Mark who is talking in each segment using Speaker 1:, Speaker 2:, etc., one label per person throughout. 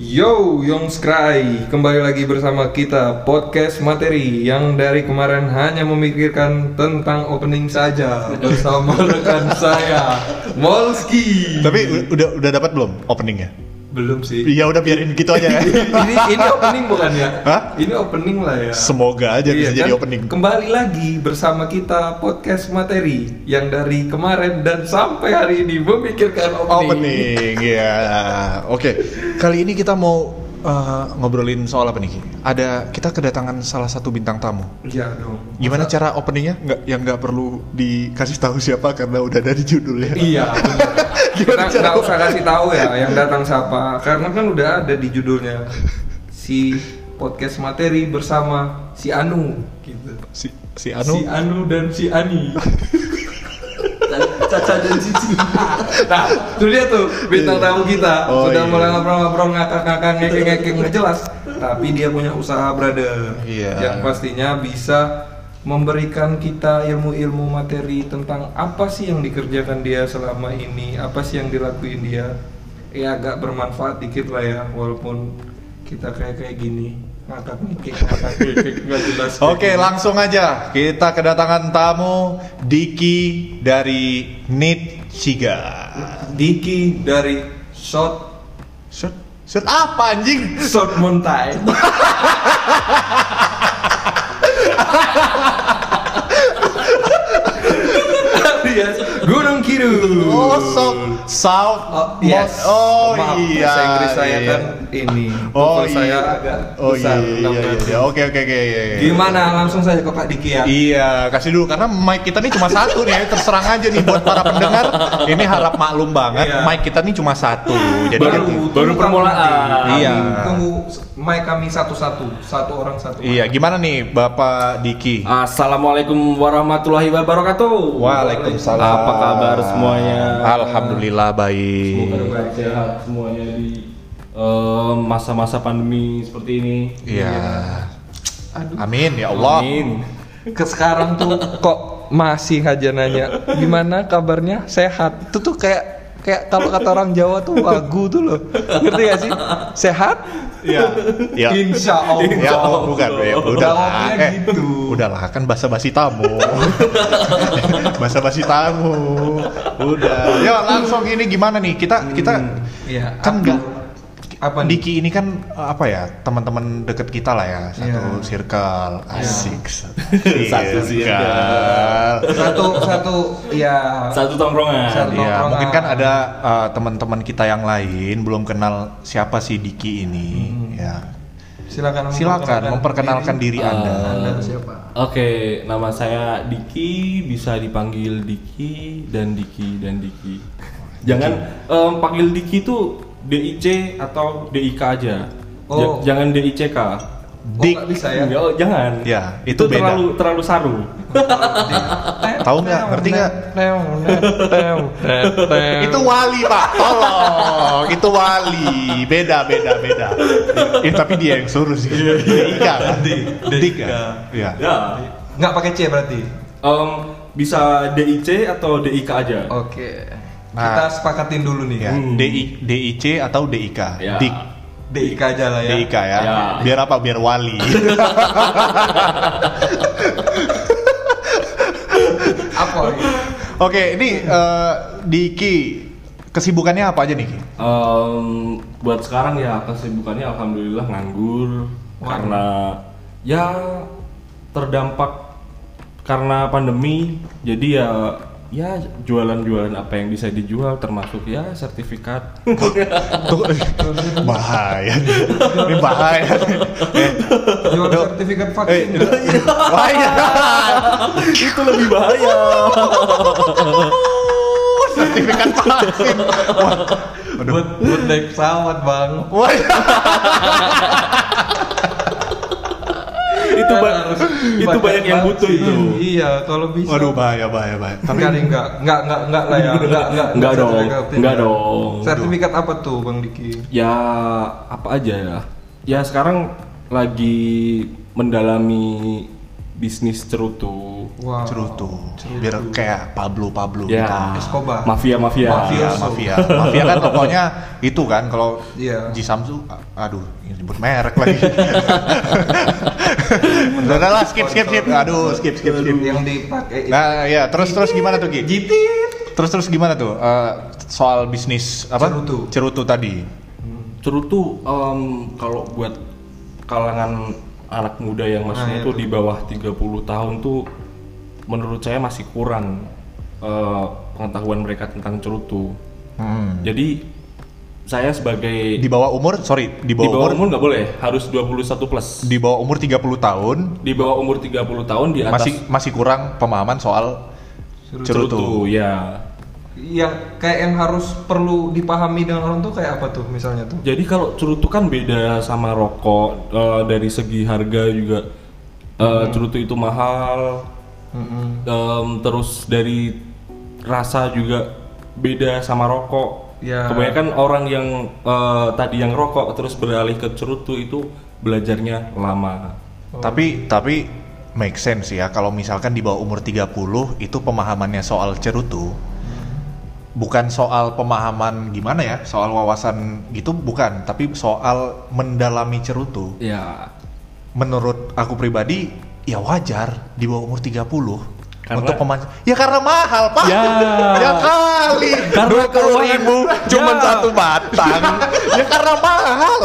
Speaker 1: Yo, Young Scry, kembali lagi bersama kita podcast materi yang dari kemarin hanya memikirkan tentang opening saja bersama rekan saya Molski.
Speaker 2: Tapi u- udah udah dapat belum openingnya?
Speaker 1: belum sih.
Speaker 2: Ya udah biarin gitu aja ya.
Speaker 1: ini ini opening bukan ya?
Speaker 2: Hah?
Speaker 1: Ini opening lah ya.
Speaker 2: Semoga aja bisa
Speaker 1: Iya,
Speaker 2: jadi
Speaker 1: kan?
Speaker 2: opening.
Speaker 1: Kembali lagi bersama kita podcast materi yang dari kemarin dan sampai hari ini memikirkan opening.
Speaker 2: Opening ya. Oke. Kali ini kita mau eh, ngobrolin soal apa nih? Ki? Ada kita kedatangan salah satu bintang tamu.
Speaker 1: Iya dong.
Speaker 2: Gimana cara openingnya? Nggak yang nggak perlu dikasih tahu siapa karena udah dari judulnya.
Speaker 1: Iya. bener. Kita
Speaker 2: Gimana cara
Speaker 1: nggak usah kasih tahu ya yang datang siapa, karena kan udah ada di judulnya si podcast materi bersama si Anu, gitu.
Speaker 2: Si si Anu.
Speaker 1: Si Anu dan si Ani.
Speaker 3: Caca dan Cici.
Speaker 1: Nah, itu dia tuh bintang tamu kita
Speaker 2: Oh,
Speaker 1: sudah
Speaker 2: iya.
Speaker 1: mulai ngobrol-ngobrol ngakak-ngakak ngekek-ngekek nggak jelas, tapi dia punya usaha brother
Speaker 2: Iya.
Speaker 1: yang pastinya bisa memberikan kita ilmu-ilmu materi tentang apa sih yang dikerjakan dia selama ini, apa sih yang dilakuin dia. Ya agak bermanfaat dikit lah ya, walaupun kita kayak kayak gini ngakak ngekek ngakak ngekek nggak jelas.
Speaker 2: Oke, langsung aja. Kita kedatangan tamu Diki dari Nit Siga.
Speaker 1: Diki dari Shot
Speaker 2: Shot shot apa anjing?
Speaker 1: Shot Montai. Alias Gunung Kidul.
Speaker 2: Oh, South, South,
Speaker 1: Oh, yes.
Speaker 2: Most- oh
Speaker 1: Maaf,
Speaker 2: iya,
Speaker 1: Bahasa Inggris saya
Speaker 2: iya.
Speaker 1: kan ini.
Speaker 2: oh
Speaker 1: Google
Speaker 2: iya,
Speaker 1: saya agak
Speaker 2: oh iya,
Speaker 1: besar.
Speaker 2: iya, iya, iya. oke, oke, oke, iya, iya.
Speaker 1: Gimana? Langsung saja ke Pak Diki ya.
Speaker 2: Iya, kasih dulu karena mic kita nih cuma satu nih, terserang aja nih buat para pendengar. Ini harap maklum banget,
Speaker 1: Iya.
Speaker 2: mic kita nih cuma satu. Jadi gitu.
Speaker 3: Baru.
Speaker 2: kita-
Speaker 3: baru
Speaker 1: tunggu
Speaker 3: permulaan.
Speaker 1: kami-
Speaker 2: Iya.
Speaker 1: Tunggu mic kami satu-satu, satu orang satu. mic.
Speaker 2: iya, gimana nih Bapak Diki?
Speaker 3: Assalamualaikum warahmatullahi wabarakatuh.
Speaker 2: Waalaikumsalam.
Speaker 3: Apa kabar semuanya?
Speaker 2: Alhamdulillah
Speaker 3: Semoga
Speaker 2: baik.
Speaker 3: baik sehat semuanya di eh, masa-masa pandemi seperti ini.
Speaker 2: Iya. Amin ya Allah.
Speaker 3: Amin.
Speaker 1: ke sekarang tuh kok masih aja nanya gimana kabarnya sehat itu tuh kayak kayak kalau kata orang Jawa tuh wagu tuh loh ngerti gak sih sehat
Speaker 2: Iya. Iya.
Speaker 1: insya Allah
Speaker 2: Ya, oh, bukan, ya,
Speaker 1: Jawabnya
Speaker 2: udahlah, eh,
Speaker 1: gitu.
Speaker 2: udahlah kan basa-basi tamu, basa-basi tamu, udah. Yo langsung ini gimana nih kita kita
Speaker 1: Iya, apa-
Speaker 2: kan nggak
Speaker 1: apa nih?
Speaker 2: Diki ini kan eh, apa ya teman-teman deket kita lah ya
Speaker 1: Iya.
Speaker 2: satu circle asik
Speaker 3: Satu circle.
Speaker 1: satu satu ya
Speaker 3: Satu tongkrongan.
Speaker 1: Satu.
Speaker 2: Iya,
Speaker 1: Tongkrongan.
Speaker 2: mungkin kan ada eh, teman-teman kita yang lain belum kenal siapa sih Diki ini,
Speaker 1: Hmm.
Speaker 2: ya.
Speaker 1: silakan
Speaker 2: Silakan memperkenalkan diri Oh. Anda.
Speaker 1: Anda tuh siapa
Speaker 3: Oke, nama saya Diki, bisa dipanggil Diki dan Diki dan Diki. Jangan em, panggil Diki itu DIC atau DIK aja. Ja-
Speaker 1: Oh.
Speaker 3: jangan DICK.
Speaker 1: Kok
Speaker 2: Dik.
Speaker 1: nggak bisa ya
Speaker 3: Enggak, oh, jangan.
Speaker 2: Ya, itu beda.
Speaker 3: terlalu terlalu saru.
Speaker 1: Eh,
Speaker 2: Tahu nggak? Ngerti nggak?
Speaker 1: Teo, net, teo, net, teo.
Speaker 2: Itu wali pak, tolong. Itu wali, beda beda beda. Eh, tapi dia yang suruh sih. Dika, kan? Dika. Iya.
Speaker 3: Ya.
Speaker 1: nggak pakai c berarti
Speaker 3: Em, bisa DIC atau DIK aja.
Speaker 1: oke
Speaker 2: Nah.
Speaker 1: kita sepakatin dulu nih
Speaker 2: Ya,
Speaker 3: Hmm.
Speaker 2: DI, DIC atau DIK?
Speaker 3: Ya.
Speaker 2: Dik,
Speaker 1: DIK aja lah ya
Speaker 2: DIK ya.
Speaker 3: Ya.
Speaker 2: Biar apa? Biar wali.
Speaker 1: apa lagi?
Speaker 2: Oke, ini eh, Diki kesibukannya apa aja nih? Ki?
Speaker 3: Em, buat sekarang ya kesibukannya alhamdulillah nganggur
Speaker 1: Waduh.
Speaker 3: karena ya terdampak karena pandemi jadi ya ya jualan-jualan apa yang bisa dijual termasuk ya sertifikat
Speaker 2: Tuh, bahaya nih. Ini bahaya. nih. Eh,
Speaker 1: Jual
Speaker 2: Aduh.
Speaker 1: sertifikat
Speaker 2: eh,
Speaker 1: vaksin.
Speaker 2: bahaya.
Speaker 3: itu lebih bahaya
Speaker 2: Sertifikat vaksin. Wah, aduh.
Speaker 1: buat buat naik pesawat bang.
Speaker 2: Wah,
Speaker 3: itu ba- itu banyak yang butuh itu
Speaker 1: Iya, kalau bisa.
Speaker 2: Waduh bahaya bahaya bahaya. Tapi
Speaker 1: enggak, enggak, enggak, enggak, enggak lah ya. Enggak, enggak,
Speaker 3: Enggak dong,
Speaker 1: sertifikat vaksin.
Speaker 3: enggak dong.
Speaker 1: Sertifikat apa tuh, Bang Diki?
Speaker 3: ya apa aja ya ya sekarang lagi mendalami bisnis cerutu
Speaker 1: Wow.
Speaker 2: cerutu biar kayak Pablo Pablo
Speaker 3: Ya.
Speaker 1: Escobar.
Speaker 3: Mafia mafia.
Speaker 1: Mafia.
Speaker 2: Mafia, mafia, mafia kan pokoknya itu kan kalau
Speaker 1: Iya.
Speaker 2: di Samsung, a- aduh, ini nyebut merek lagi. Udah lah, skip, skip, skip, aduh, skip, skip, skip.
Speaker 1: yang dipakai itu.
Speaker 2: Nah, ya terus terus gimana tuh Ki? Terus terus gimana tuh eh, soal bisnis apa?
Speaker 1: Cerutu.
Speaker 2: Cerutu tadi.
Speaker 3: Cerutu em, kalau buat kalangan anak muda yang maksudnya
Speaker 1: iya
Speaker 3: tuh di bawah 30 tahun tuh menurut saya masih kurang eh, pengetahuan mereka tentang cerutu.
Speaker 2: Hmm.
Speaker 3: Jadi saya sebagai
Speaker 2: Di bawah umur, sorry, di
Speaker 3: di
Speaker 2: bawah,
Speaker 3: bawah
Speaker 2: umur,
Speaker 3: umur nggak boleh, harus 21 plus.
Speaker 2: di bawah umur 30 tahun
Speaker 3: Di bawah umur 30 tahun di atas
Speaker 2: masih masih kurang pemahaman soal
Speaker 1: Cerutu.
Speaker 2: cerutu.
Speaker 3: ya.
Speaker 1: Yang kayak yang harus perlu dipahami dengan orang tuh kayak apa tuh misalnya tuh?
Speaker 3: Jadi kalau cerutu kan beda sama rokok eh, dari segi harga juga Eh, cerutu itu mahal. Em, terus dari rasa juga beda sama rokok.
Speaker 1: Ya.
Speaker 3: Kebanyakan orang yang eh, tadi yang rokok terus beralih ke cerutu itu belajarnya lama.
Speaker 2: Tapi tapi make sense ya kalau misalkan di bawah umur 30 itu pemahamannya soal cerutu bukan soal pemahaman gimana ya, soal wawasan gitu bukan, tapi soal mendalami cerutu.
Speaker 3: Ya.
Speaker 2: menurut aku pribadi ya wajar di bawah umur 30
Speaker 3: Karena-
Speaker 2: untuk pemanc ya karena mahal pak
Speaker 3: Ya.
Speaker 2: Ya kali
Speaker 3: Karena
Speaker 2: dua puluh
Speaker 3: keuangan.
Speaker 2: ribu cuman
Speaker 3: Ya.
Speaker 2: satu batang ya karena mahal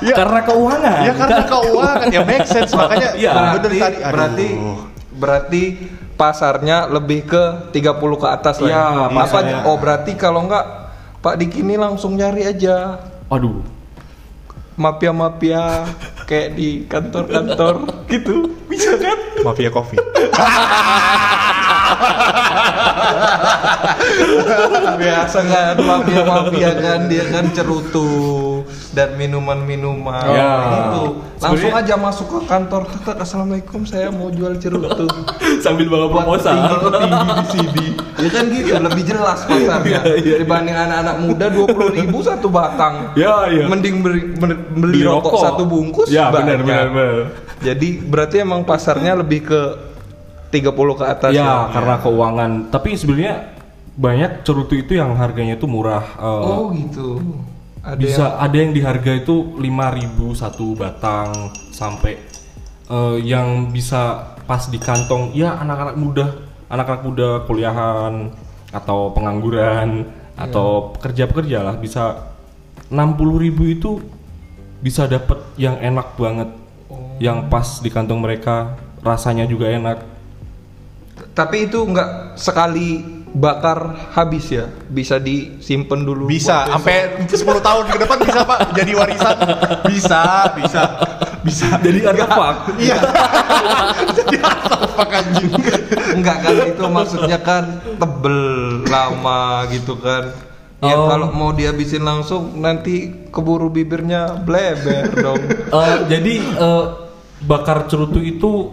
Speaker 2: ya,
Speaker 3: Karena keuangan.
Speaker 2: ya karena keuangan ya make sense makanya
Speaker 3: Iya.
Speaker 2: bener
Speaker 1: berarti
Speaker 2: tadi aduh.
Speaker 1: Nah, berarti berarti pasarnya lebih ke 30 ke atas lah. ya?
Speaker 3: Iya,
Speaker 1: Apa
Speaker 3: pasarnya.
Speaker 1: oh berarti kalau enggak Pak Diki ini langsung nyari aja
Speaker 3: Aduh.
Speaker 1: mafia-mafia kayak di kantor-kantor gitu. Bisa kan?
Speaker 2: mafia kopi
Speaker 1: Biasa kan mafia-mafia kan dia kan cerutu dan minuman-minuman
Speaker 3: Ya.
Speaker 1: gitu. Langsung aja
Speaker 3: Sebenarnya-
Speaker 1: masuk ke kantor. Tetap assalamualaikum saya mau jual cerutu.
Speaker 3: Sambil bawa proposal.
Speaker 1: Tinggi, tinggi di sini. Ya kan gitu lebih jelas pasarnya
Speaker 3: Iya, iya, iya.
Speaker 1: dibanding anak-anak muda 20.000 ribu satu batang.
Speaker 3: Iya, iya.
Speaker 1: Mending beri- men- beli,
Speaker 3: Beli
Speaker 1: rokok,
Speaker 3: rokok.
Speaker 1: satu bungkus.
Speaker 3: Ya,
Speaker 1: banyak.
Speaker 3: benar, benar, benar.
Speaker 1: Jadi berarti emang pasarnya lebih ke 30 ke atas.
Speaker 3: ya, karena keuangan. Tapi sebenarnya banyak cerutu itu yang harganya itu murah. Eh,
Speaker 1: Oh gitu. Ada
Speaker 3: bisa
Speaker 1: yang-
Speaker 3: ada yang di harga itu 5.000 satu batang sampai eh, yang bisa pas di kantong ya anak-anak muda, anak-anak muda kuliahan atau pengangguran
Speaker 1: Iya.
Speaker 3: atau pekerja-pekerja lah bisa 60.000 itu bisa dapet yang enak banget.
Speaker 1: Oh.
Speaker 3: Yang pas di kantong mereka, rasanya juga enak.
Speaker 1: tapi itu nggak sekali bakar habis ya. Bisa disimpan dulu.
Speaker 2: bisa
Speaker 1: buat
Speaker 2: sampai 10 tahun ke depan bisa pak jadi warisan bisa bisa bisa
Speaker 3: Jadi artefak.
Speaker 2: iya jadi apa anjing
Speaker 1: besok. Nggak kan itu maksudnya kan tebel lama gitu kan. Ya
Speaker 3: Oh.
Speaker 1: kalau mau dihabisin langsung nanti keburu bibirnya bleber dong.
Speaker 3: Eh, jadi eh, bakar cerutu itu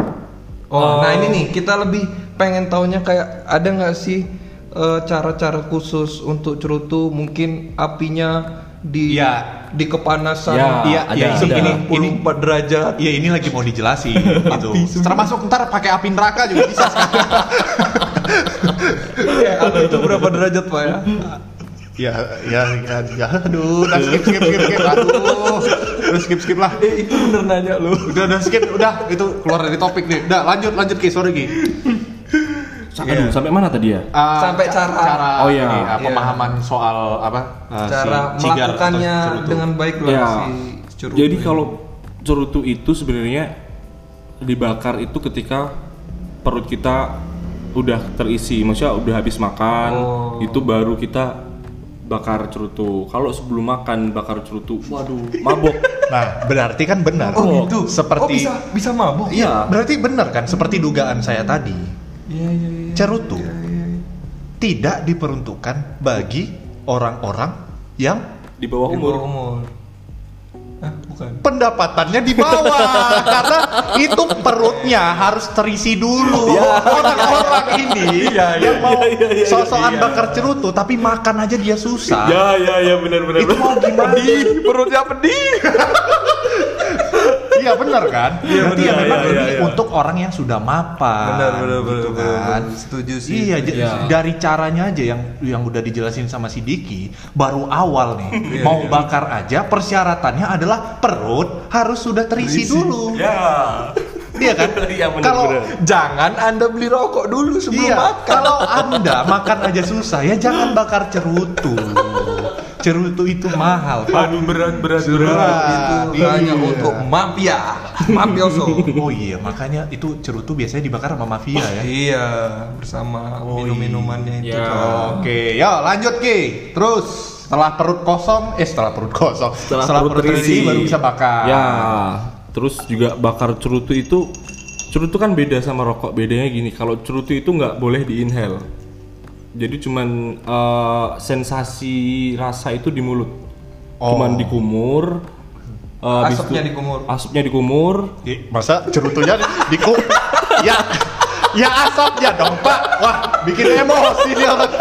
Speaker 1: Oh,
Speaker 3: eh,
Speaker 1: nah ini nih kita lebih pengen taunya kayak ada nggak sih eh, cara-cara khusus untuk cerutu mungkin apinya di
Speaker 2: Iya.
Speaker 1: di kepanasan
Speaker 3: Iya,
Speaker 2: iya, iya,
Speaker 1: Nah, ada
Speaker 2: ini- ini- ini-
Speaker 1: 94 derajat
Speaker 2: Iya ini lagi mau dijelasin gitu. Termasuk ntar pakai api neraka juga bisa sekarang.
Speaker 1: Iya, Apa itu berapa derajat pak ya
Speaker 2: ya, ya, ya, ya, aduh, udah skip, skip, skip, skip, aduh, udah skip, skip lah.
Speaker 1: eh itu bener nanya lu
Speaker 2: Udah, udah skip, udah, itu keluar dari topik nih. Udah, lanjut, lanjut ki, sorry ki.
Speaker 3: sa-
Speaker 1: Iya.
Speaker 3: aduh, sampai mana tadi ya?
Speaker 2: Ah,
Speaker 1: Sampai
Speaker 2: ca-
Speaker 1: cara.
Speaker 2: cara
Speaker 3: Oh, iya.
Speaker 2: ini, ah,
Speaker 1: Iya.
Speaker 2: pemahaman soal apa? ah, si
Speaker 1: cara
Speaker 2: cigar atau
Speaker 1: melakukannya
Speaker 2: cerutu. Iya.
Speaker 1: dengan baik lah
Speaker 3: Ya,
Speaker 1: si cerutu
Speaker 3: Jadi
Speaker 1: ini. Oh,
Speaker 3: kalau cerutu itu sebenarnya dibakar itu ketika perut kita udah terisi, maksudnya udah habis makan,
Speaker 1: Oh.
Speaker 3: itu baru kita bakar cerutu. Kalau sebelum makan bakar cerutu, waduh, mabok.
Speaker 2: Nah, berarti kan benar.
Speaker 1: oh gitu
Speaker 2: Seperti.
Speaker 1: oh bisa bisa mabuk
Speaker 2: Iya, berarti benar kan? Seperti dugaan saya tadi,
Speaker 1: iya iya iya
Speaker 2: cerutu
Speaker 1: Iya, iya, iya.
Speaker 2: tidak diperuntukkan bagi orang-orang yang
Speaker 3: Di bawah
Speaker 1: Di
Speaker 3: umur.
Speaker 1: bawah umur ah Oh, bukan
Speaker 2: pendapatannya di bawah karena itu perutnya harus terisi
Speaker 1: Iya.
Speaker 2: dulu orang-orang ini yang mau sosokan bakar cerutu tapi makan aja
Speaker 1: Iya,
Speaker 2: dia susah
Speaker 3: Ah, Ya, ya, ya, benar-benar.
Speaker 2: itu mau gimana
Speaker 1: perutnya pedih
Speaker 2: iya iya benar kan?
Speaker 1: Iya, benar,
Speaker 2: Berarti ya memang
Speaker 3: iya, iya,
Speaker 2: lebih
Speaker 3: iya.
Speaker 2: untuk orang yang sudah mapan.
Speaker 1: Benar, benar, benar, benar,
Speaker 2: kan.
Speaker 1: benar. Setuju sih.
Speaker 2: Iya, j-
Speaker 3: Iya.
Speaker 2: dari caranya aja yang yang udah dijelasin sama si Diki, baru awal nih.
Speaker 1: Iya, iya.
Speaker 2: mau bakar aja persyaratannya adalah perut harus sudah
Speaker 1: Terisi.
Speaker 2: terisi, dulu.
Speaker 3: Ya.
Speaker 2: Iya kan?
Speaker 3: Iya, benar,
Speaker 2: Kalau
Speaker 3: benar.
Speaker 1: Jangan Anda beli rokok dulu sebelum
Speaker 2: Iya,
Speaker 1: makan.
Speaker 2: kalau Anda makan aja susah ya jangan bakar cerutu. Cerutu itu mahal, Pak.
Speaker 3: Aduh berat berat
Speaker 2: Berat.
Speaker 3: berat.
Speaker 1: itu
Speaker 2: Iya.
Speaker 1: hanya untuk mafia, mafioso.
Speaker 2: Oh iya, makanya itu cerutu biasanya dibakar sama mafia ya.
Speaker 1: iya, bersama
Speaker 2: Oh,
Speaker 1: minum-minumannya itu.
Speaker 3: iya.
Speaker 1: kan.
Speaker 2: Oke, yo lanjut Ki. Terus setelah perut kosong, eh setelah perut kosong, setelah, perut, terisi baru bisa bakar.
Speaker 3: Ya. Terus juga bakar cerutu itu cerutu kan beda sama rokok. Bedanya gini, kalau cerutu itu nggak boleh diinhale. Jadi cuman eh, sensasi rasa itu di mulut.
Speaker 2: Oh.
Speaker 3: Cuman dikumur. eh, habis
Speaker 1: Asapnya
Speaker 3: itu-
Speaker 1: dikumur.
Speaker 3: Asapnya dikumur.
Speaker 2: Ih, Masa cerutunya di ku- ya ya asapnya dong Pak. Wah, bikin emosi dia. orang.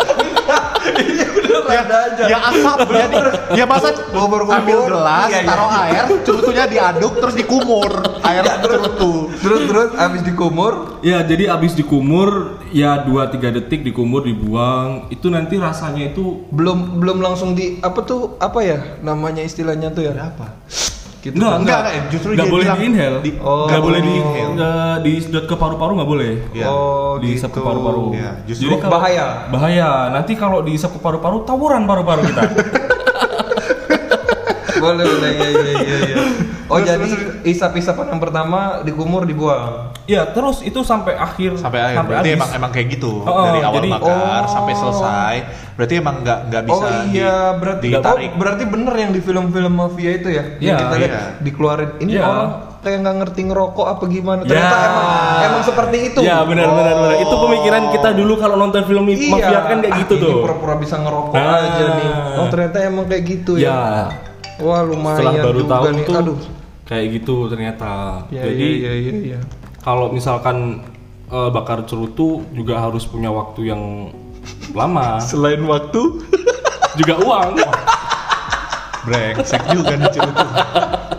Speaker 2: ya,
Speaker 1: ada aja.
Speaker 2: ya asapnya di, ya masa
Speaker 1: Gobor-gobor.
Speaker 2: ambil gelas,
Speaker 1: Iya, iya.
Speaker 2: taruh air, cerutunya diaduk terus dikumur air cerutu.
Speaker 1: Terus terus habis dikumur,
Speaker 3: Ya, jadi abis dikumur ya 2-3 detik dikumur dibuang. Itu nanti rasanya itu
Speaker 1: belum belum langsung di apa tuh apa ya namanya istilahnya tuh ya?
Speaker 2: Apa?
Speaker 1: Gitu.
Speaker 2: Enggak,
Speaker 3: Enggak, enggak,
Speaker 2: enggak, justru
Speaker 3: enggak
Speaker 2: dia
Speaker 3: boleh
Speaker 2: bilang-
Speaker 3: diinhale.
Speaker 2: di-
Speaker 1: Oh.
Speaker 3: Enggak boleh
Speaker 2: Inhale.
Speaker 3: diinhale. Enggak disedot ke paru-paru enggak boleh.
Speaker 2: Iya.
Speaker 1: Oh,
Speaker 3: diisap
Speaker 1: gitu.
Speaker 3: ke paru-paru.
Speaker 2: Iya, justru
Speaker 3: kalau-
Speaker 1: bahaya.
Speaker 3: Bahaya. Nanti kalau diisap ke paru-paru tawuran paru-paru kita.
Speaker 1: Boleh, boleh, iya, iya, iya, iya. Oh,
Speaker 2: Terus,
Speaker 1: jadi
Speaker 2: terus,
Speaker 1: isap-isapan yang pertama dikumur dibuang.
Speaker 3: ya, terus itu sampai akhir
Speaker 2: sampai akhir berarti emang emang kayak gitu
Speaker 3: Oh,
Speaker 2: dari awal
Speaker 3: jadi-
Speaker 2: bakar
Speaker 1: oh.
Speaker 2: sampai selesai berarti emang nggak nggak bisa
Speaker 1: oh
Speaker 2: di-
Speaker 1: iya, berarti
Speaker 2: ditarik
Speaker 1: oh, berarti bener yang di film-film mafia itu ya. Yang
Speaker 3: Iya,
Speaker 1: kita lihat
Speaker 2: iya.
Speaker 1: dikeluarin ini
Speaker 3: Iya.
Speaker 1: orang kayak nggak ngerti ngerokok apa gimana.
Speaker 3: Ya.
Speaker 1: Ternyata emang emang seperti itu. Oh.
Speaker 3: Ya, benar benar benar. Itu pemikiran kita dulu kalau nonton film
Speaker 1: Iya.
Speaker 3: mafia kan kayak
Speaker 1: Ah,
Speaker 3: gitu
Speaker 1: ini
Speaker 3: tuh.
Speaker 1: pura-pura bisa ngerokok
Speaker 3: Ah.
Speaker 1: aja nih. Oh, ternyata emang kayak gitu ya.
Speaker 3: Ya.
Speaker 1: Wah, lumayan
Speaker 3: Setelah baru
Speaker 1: juga
Speaker 3: tahu
Speaker 1: nih.
Speaker 3: tuh
Speaker 1: Aduh.
Speaker 3: kayak gitu ternyata.
Speaker 1: Ya,
Speaker 3: jadi
Speaker 1: ya, ya, ya, ya.
Speaker 3: kalau misalkan eh, bakar cerutu juga harus punya waktu yang lama
Speaker 2: selain waktu
Speaker 3: juga uang
Speaker 2: brengsek juga nih cerutu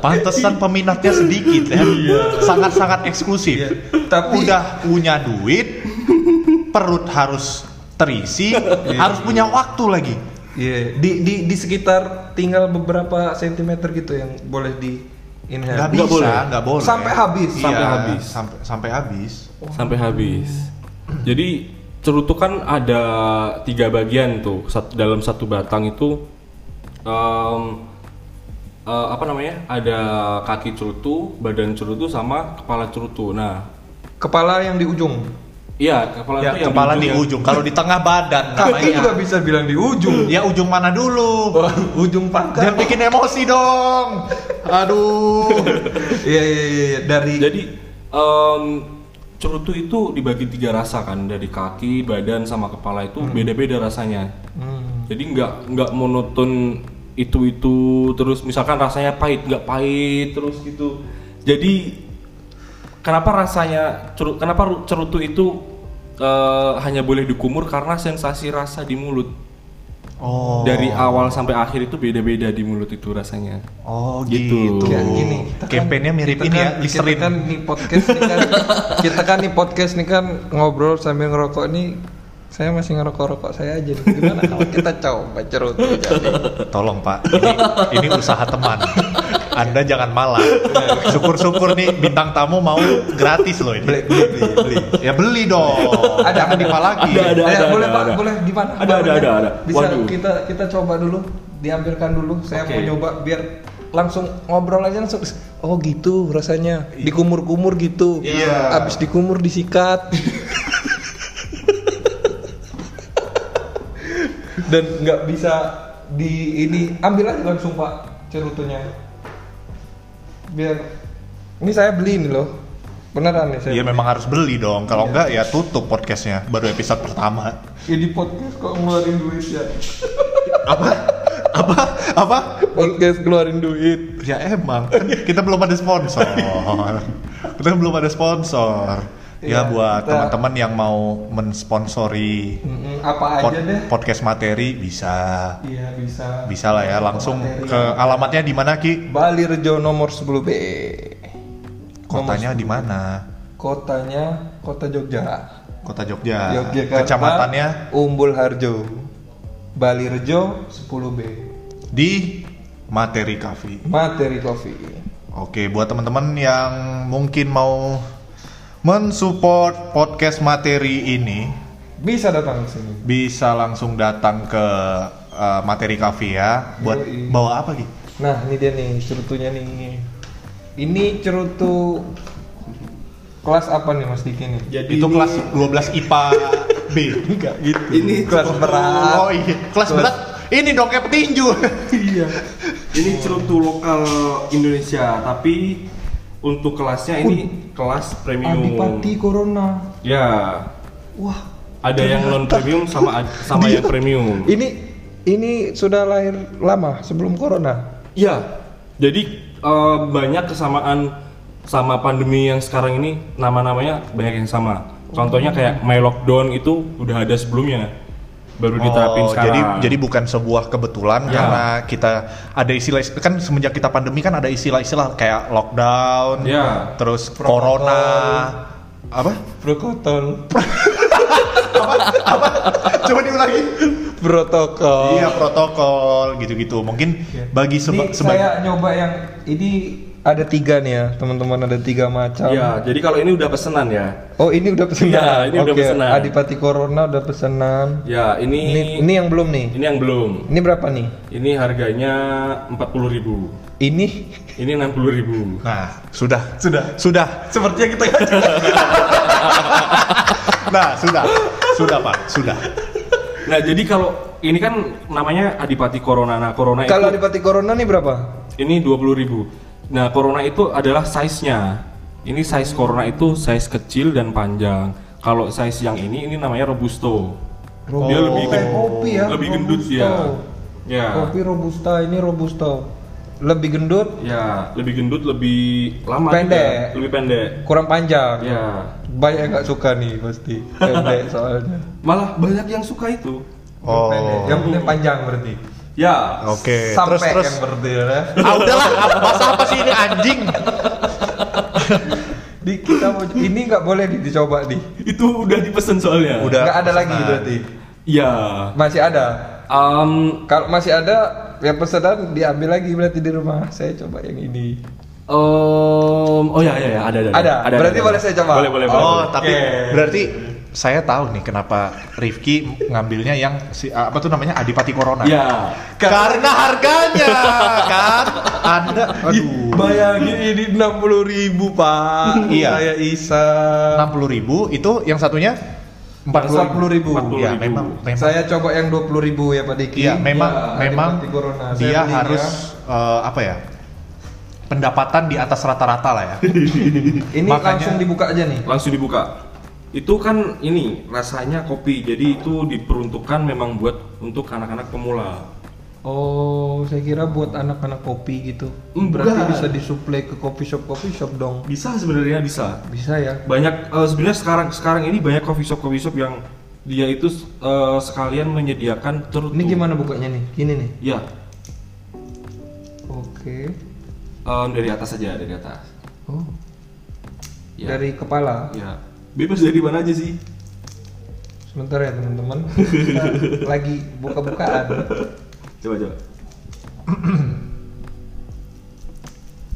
Speaker 2: pantesan peminatnya sedikit ya sangat sangat eksklusif
Speaker 1: Iya. Tapi-
Speaker 2: udah punya duit perut harus terisi harus punya waktu lagi
Speaker 1: Iya, di di di sekitar tinggal beberapa sentimeter gitu yang boleh di inhale.
Speaker 2: nggak
Speaker 3: Nggak
Speaker 2: bisa
Speaker 3: boleh.
Speaker 2: nggak boleh
Speaker 1: Sampai habis.
Speaker 2: Iya,
Speaker 1: Sampai
Speaker 3: habis.
Speaker 2: sampai sampai habis
Speaker 3: sampai habis jadi cerutu kan ada tiga bagian tuh Sat- dalam satu batang itu em, eh, apa namanya ada kaki cerutu badan cerutu sama kepala cerutu nah
Speaker 1: Kepala yang di ujung.
Speaker 3: iya kepala
Speaker 2: ya,
Speaker 3: itu yang
Speaker 2: kepala di
Speaker 3: ujung ya.
Speaker 2: ujung kalau di tengah badan
Speaker 1: Kaki juga
Speaker 2: namanya
Speaker 1: bisa bilang di ujung.
Speaker 2: ya ujung mana dulu
Speaker 1: Oh, ujung Kan. pangkat.
Speaker 2: Jangan bikin emosi dong. Aduh.
Speaker 1: Iya iya iya iya. dari
Speaker 3: Jadi em, cerutu itu dibagi tiga rasa kan dari kaki, badan sama kepala
Speaker 2: Hmm.
Speaker 3: itu beda-beda rasanya.
Speaker 1: Hmm.
Speaker 3: Jadi nggak nggak monoton itu itu terus misalkan rasanya pahit nggak pahit terus gitu. Jadi kenapa rasanya ceru- kenapa ru- cerutu itu eh, hanya boleh dikumur karena sensasi rasa di mulut
Speaker 2: Oh.
Speaker 3: dari awal sampai akhir itu beda-beda di mulut itu rasanya.
Speaker 2: Oh gitu.
Speaker 3: Gitu.
Speaker 1: Kayak gini, kita kan-
Speaker 2: Kampanyenya mirip
Speaker 1: kita
Speaker 2: ini
Speaker 1: kan-
Speaker 2: ya, Listerin.
Speaker 1: Kita kan nih podcast nih kan, kita kan nih podcast nih kan ngobrol sambil ngerokok nih. Saya masih ngerokok-rokok saya aja nih. Gimana kalau kita coba cerut jadi.
Speaker 2: Tolong Pak, ini, ini usaha teman. Anda jangan malah. Syukur-syukur nih bintang tamu mau gratis loh ini.
Speaker 1: Beli beli beli. beli.
Speaker 2: Ya beli dong.
Speaker 1: Ada.
Speaker 2: Jangan dipa lagi.
Speaker 3: Ada, ada.
Speaker 1: Eh, boleh
Speaker 3: ada,
Speaker 1: Pak,
Speaker 3: ada.
Speaker 1: boleh di mana?
Speaker 3: Ada, ada,
Speaker 1: Barangnya?
Speaker 3: ada, ada.
Speaker 1: Bisa
Speaker 3: Waduh.
Speaker 1: kita kita coba dulu, diambilkan dulu. Saya
Speaker 3: Oke.
Speaker 1: mau nyoba biar langsung ngobrol aja langsung. Oh gitu rasanya. Dikumur-kumur gitu.
Speaker 2: Iya.
Speaker 1: Abis dikumur disikat. Dan nggak bisa di ini ambil aja langsung Pak cerutunya. Biar ini saya beli ini loh. Beneran nih saya.
Speaker 2: Ya
Speaker 1: beli.
Speaker 2: memang harus beli dong.
Speaker 1: Iya.
Speaker 2: Kalau enggak ya tutup podcastnya. Baru episode pertama.
Speaker 1: Ya di podcast kok ngeluarin duit ya.
Speaker 2: Apa? Apa? Apa?
Speaker 1: Podcast keluarin duit.
Speaker 2: Ya emang kan kita belum ada sponsor. kita belum ada sponsor.
Speaker 1: Iya,
Speaker 2: Ya buat
Speaker 1: kita-
Speaker 2: teman-teman yang mau mensponsori
Speaker 1: Mm-mm, apa aja
Speaker 2: pod-
Speaker 1: deh.
Speaker 2: podcast materi bisa.
Speaker 1: Iya bisa.
Speaker 2: Bisa lah ya langsung
Speaker 1: Materi.
Speaker 2: ke alamatnya di mana Ki?
Speaker 1: Bali Rejo nomor 10 B.
Speaker 2: Kotanya di mana?
Speaker 1: Kotanya kota Jogja.
Speaker 2: Kota Jogja.
Speaker 1: Yogyakarta.
Speaker 2: Kecamatannya
Speaker 1: Umbul Harjo. Bali Rejo 10B.
Speaker 2: di Materi Cafe.
Speaker 1: Materi Coffee.
Speaker 2: Oke, buat teman-teman yang mungkin mau mensupport podcast materi ini,
Speaker 1: Bisa datang ke sini.
Speaker 2: bisa langsung datang ke eh, Materi Cafe ya. Buat
Speaker 1: Yoi.
Speaker 2: bawa apa Ki?
Speaker 1: Nah, ini dia nih cerutunya nih. Ini cerutu kelas apa nih Mas Diki nih?
Speaker 3: Jadi
Speaker 2: Itu
Speaker 3: ini-
Speaker 2: kelas 12 IPA B.
Speaker 1: Enggak gitu. Ini kelas berat.
Speaker 2: Oh iya, kelas berat. Ini dong kayak petinju.
Speaker 1: iya.
Speaker 3: ini cerutu lokal Indonesia, tapi untuk kelasnya ini kelas premium.
Speaker 1: Adipati Corona.
Speaker 3: Ya,
Speaker 1: Wah,
Speaker 3: ada yang non premium sama ad- sama yang premium.
Speaker 1: ini ini sudah lahir lama sebelum corona.
Speaker 3: Ya, jadi eh, banyak kesamaan sama pandemi yang sekarang ini nama-namanya banyak yang sama. Contohnya kayak My Lockdown itu udah ada sebelumnya, baru diterapin
Speaker 2: Oh,
Speaker 3: sekarang.
Speaker 2: jadi jadi bukan sebuah kebetulan
Speaker 3: Ya.
Speaker 2: karena kita ada istilah kan semenjak kita pandemi kan ada istilah-istilah kayak lockdown,
Speaker 3: Ya.
Speaker 2: terus
Speaker 1: Protokol.
Speaker 2: corona, apa?
Speaker 1: Protokol.
Speaker 2: Coba diulangi.
Speaker 1: Protokol.
Speaker 2: Iya protokol gitu-gitu. Mungkin bagi seba-
Speaker 1: Ini saya
Speaker 2: sebagai
Speaker 1: nyoba yang ini ada tiga nih ya teman-teman ada tiga macam.
Speaker 3: Ya, jadi kalau ini udah pesenan ya.
Speaker 1: Oh ini udah pesenan.
Speaker 3: Iya, ini udah
Speaker 1: Oke,
Speaker 3: pesenan.
Speaker 1: Adipati Corona udah pesenan.
Speaker 3: Ya, ini
Speaker 1: Ini,
Speaker 3: ini,
Speaker 1: ini yang belum nih.
Speaker 3: yang belum.
Speaker 1: Ini berapa nih?
Speaker 3: Ini harganya 40.000.
Speaker 1: Ini
Speaker 3: Ini 60.000.
Speaker 2: nah sudah sudah sudah sepertinya kita nah sudah sudah pak sudah
Speaker 3: Nah, jadi kalau ini kan namanya Adipati Corona. Nah, Corona
Speaker 1: kalau
Speaker 3: itu
Speaker 1: Adipati Corona nih berapa?
Speaker 3: ini 20.000. Nah, Corona itu adalah size-nya. Ini size Corona itu size kecil dan panjang. Kalau size yang ini ini namanya robusto. Dia lebih
Speaker 1: kayak
Speaker 3: gendut.
Speaker 1: Oh, kopi ya.
Speaker 3: Lebih gendut
Speaker 1: Robusto.
Speaker 3: ya. Ya.
Speaker 1: Kopi robusta ini robusta. Lebih gendut,
Speaker 3: Ya, lebih gendut, lebih lama juga.
Speaker 1: Pendek.
Speaker 3: lebih pendek.
Speaker 1: kurang panjang.
Speaker 3: Ya.
Speaker 1: Banyak yang nggak suka nih pasti. Pendek soalnya.
Speaker 3: Malah banyak yang suka itu.
Speaker 2: oh
Speaker 1: Pendek. Yang penting panjang berarti.
Speaker 3: Ya.
Speaker 2: oke
Speaker 1: Sampai
Speaker 2: terus terus
Speaker 1: yang berarti ya.
Speaker 2: ah udahlah masa apa sih ini anjing
Speaker 1: Di kita mau- ini nggak boleh di- dicoba nih.
Speaker 3: Itu udah dipesen soalnya.
Speaker 2: Udah.
Speaker 1: Nggak ada lagi
Speaker 2: pesanan.
Speaker 1: berarti.
Speaker 3: Ya.
Speaker 1: Masih ada.
Speaker 3: Um,
Speaker 1: Kalau masih ada yang pesanan diambil lagi berarti di rumah. Saya coba yang ini.
Speaker 3: um, oh ya ya ya ada ada.
Speaker 1: Ada. Berarti boleh saya coba?
Speaker 3: Boleh boleh. boleh.
Speaker 2: Oh, tapi
Speaker 1: Oke.
Speaker 2: berarti saya tahu nih kenapa Rifki ngambilnya yang si ah, apa tuh namanya Adipati Corona.
Speaker 1: Iya.
Speaker 3: Ya.
Speaker 2: Karena harganya kan Anda aduh.
Speaker 1: Bayangin ini 60 ribu pak.
Speaker 2: Iya.
Speaker 1: Saya Isa.
Speaker 2: 60 ribu itu yang satunya 40
Speaker 1: 40.000.
Speaker 2: Ya,
Speaker 3: 40.000.
Speaker 2: memang memang
Speaker 1: Saya coba yang 20 ribu ya Pak Diki.
Speaker 2: iya, memang
Speaker 1: Ya,
Speaker 2: memang
Speaker 1: Adipati Corona. Saya
Speaker 2: dia
Speaker 1: beli
Speaker 2: harus eh, apa ya? Pendapatan di atas rata-rata lah ya.
Speaker 1: Ini
Speaker 2: Makanya-
Speaker 1: langsung dibuka aja nih.
Speaker 3: Langsung dibuka. Itu kan ini rasanya kopi. Jadi itu diperuntukkan memang buat untuk anak-anak pemula.
Speaker 1: Oh, saya kira buat anak-anak kopi gitu.
Speaker 3: Enggak.
Speaker 1: Berarti bisa disuplai ke coffee shop coffee shop dong.
Speaker 3: Bisa sebenarnya bisa.
Speaker 1: Bisa ya.
Speaker 3: Banyak eh, sebenarnya sekarang sekarang ini banyak coffee shop coffee shop yang dia itu eh, sekalian menyediakan cerutu.
Speaker 1: Ini gimana bukanya nih? Gini nih.
Speaker 3: Ya.
Speaker 1: Oke.
Speaker 3: em, eh, dari atas aja dari atas.
Speaker 1: Oh,
Speaker 3: Ya.
Speaker 1: dari kepala.
Speaker 3: Ya. Bebas dari mana aja sih?
Speaker 1: Sebentar ya teman-teman. Kita lagi buka-bukaan.
Speaker 3: Coba coba.